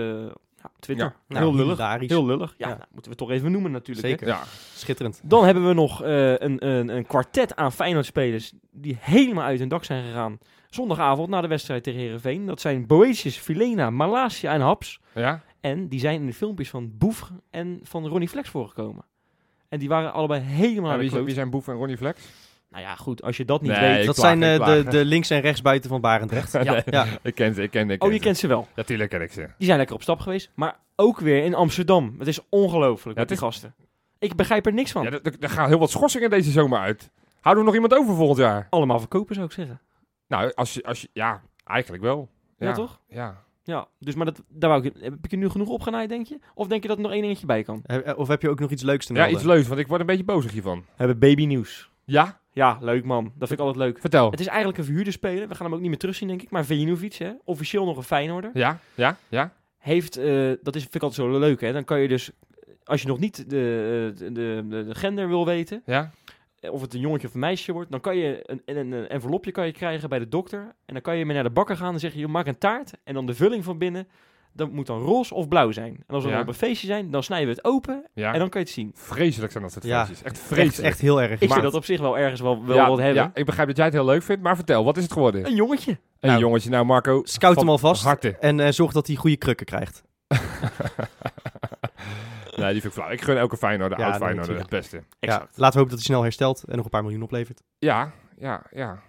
Speaker 4: ja, Twitter.
Speaker 3: Ja.
Speaker 2: Nou,
Speaker 4: heel lullig.
Speaker 2: hilarisch.
Speaker 4: Heel lullig. Ja,
Speaker 2: Ja.
Speaker 4: nou, moeten we toch even noemen natuurlijk. hè.
Speaker 2: Zeker.
Speaker 3: Ja.
Speaker 2: Schitterend.
Speaker 4: Dan hebben we nog eh, een, een, een kwartet aan Feyenoord-spelers die helemaal uit hun dak zijn gegaan. Zondagavond na de wedstrijd tegen Herenveen. Dat zijn Boetius, Filena, Malasia en Haps.
Speaker 3: Ja?
Speaker 4: En die zijn in de filmpjes van Boef en van Ronnie Flex voorgekomen. En die waren allebei helemaal
Speaker 3: En
Speaker 4: uit de
Speaker 3: wie, zijn-
Speaker 4: kloot.
Speaker 3: wie zijn Boef en Ronnie Flex?
Speaker 4: Nou ja, goed, als je dat niet
Speaker 3: Nee,
Speaker 4: weet.
Speaker 3: ik
Speaker 2: dat
Speaker 3: klaag,
Speaker 2: zijn
Speaker 3: ik
Speaker 2: eh,
Speaker 3: klaag.
Speaker 2: de, de links- en rechtsbuiten van Barendrecht.
Speaker 4: Ja.
Speaker 2: ja.
Speaker 3: Ik ken ze, ik ken ze. ik
Speaker 4: Oh,
Speaker 3: ken
Speaker 4: je
Speaker 3: ze.
Speaker 4: kent ze wel.
Speaker 3: Natuurlijk ken ik ze.
Speaker 4: Die zijn lekker op stap geweest. Maar ook weer in Amsterdam. Het is ongelooflijk
Speaker 3: Ja, het
Speaker 4: met die gasten. Ik begrijp er niks van.
Speaker 3: Ja, er- er er gaan heel wat schorsingen deze zomer uit. Houden we nog iemand over volgend jaar?
Speaker 4: Allemaal verkopen zou ik zeggen.
Speaker 3: Nou, als je, als je, ja, eigenlijk wel.
Speaker 4: Ja, toch?
Speaker 3: Ja.
Speaker 4: Ja, dus maar dat, daar wou ik, heb ik je nu genoeg opgenaaid, denk je? Of denk je dat er nog één dingetje bij kan?
Speaker 2: Eh, eh, Of heb je ook nog iets leuks te
Speaker 3: ja,
Speaker 2: melden?
Speaker 3: iets leuks, want ik word een beetje bozig hiervan.
Speaker 4: We hebben babynieuws.
Speaker 3: Ja?
Speaker 4: Ja, leuk man. Dat vind ik altijd leuk.
Speaker 3: Vertel.
Speaker 4: Het is eigenlijk een verhuurder spelen. We gaan hem ook niet meer terugzien, denk ik. Maar Vejinovic, hè, officieel nog een Feyenoorder.
Speaker 3: Ja, ja, ja.
Speaker 4: Heeft, eh, dat is, vind ik altijd zo leuk, hè. Dan kan je dus, als je nog niet de, de, de, de gender wil weten,
Speaker 3: Ja?
Speaker 4: eh, of het een jongetje of een meisje wordt, dan kan je een, een, een envelopje kan je krijgen bij de dokter. En dan kan je mee naar de bakker gaan en zeggen, joh, maak een taart. En dan de vulling van binnen, dat moet dan roze of blauw zijn. En als we
Speaker 3: Ja.
Speaker 4: dan op een feestje zijn, dan snijden we het open
Speaker 3: Ja.
Speaker 4: en dan kan je het zien.
Speaker 3: Vreselijk zijn dat soort
Speaker 2: Ja.
Speaker 3: feestjes. Echt
Speaker 2: Echt,
Speaker 3: vreselijk.
Speaker 2: echt heel erg.
Speaker 4: Ik
Speaker 2: Maar-
Speaker 4: vind dat op zich wel ergens wel, wel
Speaker 3: ja,
Speaker 4: wat hebben.
Speaker 3: ja, ik begrijp dat jij het heel leuk vindt, maar vertel, wat is het geworden?
Speaker 4: Een jongetje.
Speaker 3: Een
Speaker 2: Nou,
Speaker 3: jongetje, nou Marco.
Speaker 2: Scout
Speaker 3: van
Speaker 2: hem alvast
Speaker 3: Harte.
Speaker 2: en eh, zorg dat hij goede krukken krijgt.
Speaker 3: nee, die vind ik flauw. Ik gun elke Feyenoorder,
Speaker 2: Ja,
Speaker 3: oud
Speaker 2: nee,
Speaker 3: Feyenoorder, het
Speaker 2: natuurlijk.
Speaker 3: beste.
Speaker 2: Ja,
Speaker 4: Exact.
Speaker 2: laten we hopen dat hij snel herstelt en nog een paar miljoen oplevert.
Speaker 3: Ja, ja, ja.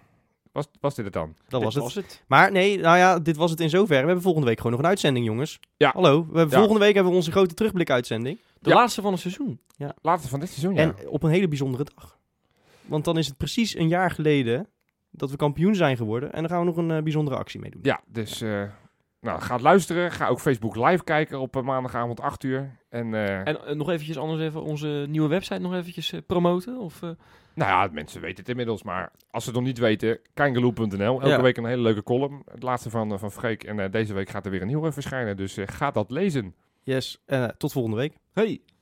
Speaker 3: Was, was dit het dan?
Speaker 2: Dat was
Speaker 4: Dit
Speaker 2: het. Maar nee, nou ja, dit was het in zoverre. We hebben volgende week gewoon nog een uitzending, jongens.
Speaker 3: Ja.
Speaker 2: Hallo, we hebben
Speaker 3: Ja.
Speaker 2: volgende week hebben we onze grote terugblik-uitzending.
Speaker 4: De
Speaker 3: Ja.
Speaker 4: laatste van het seizoen.
Speaker 3: Later van dit seizoen, ja.
Speaker 2: En op een hele bijzondere dag. Want dan is het precies een jaar geleden dat we kampioen zijn geworden. En dan gaan we nog een eh, bijzondere actie mee doen.
Speaker 3: Ja, dus eh, nou, ga het luisteren. Ga ook Facebook live kijken op eh, maandagavond 8 uur. En, eh,
Speaker 4: En eh, nog eventjes anders even onze nieuwe website nog eventjes eh, promoten. Of, eh,
Speaker 3: nou ja, mensen weten het inmiddels. Maar als ze het nog niet weten, kangaloo.nl. Elke
Speaker 4: Ja.
Speaker 3: week een hele leuke column. Het laatste van, eh, van Freek. En eh, deze week gaat er weer een nieuwe verschijnen. Dus eh, ga dat lezen.
Speaker 2: Yes, eh, tot volgende week.
Speaker 4: hey,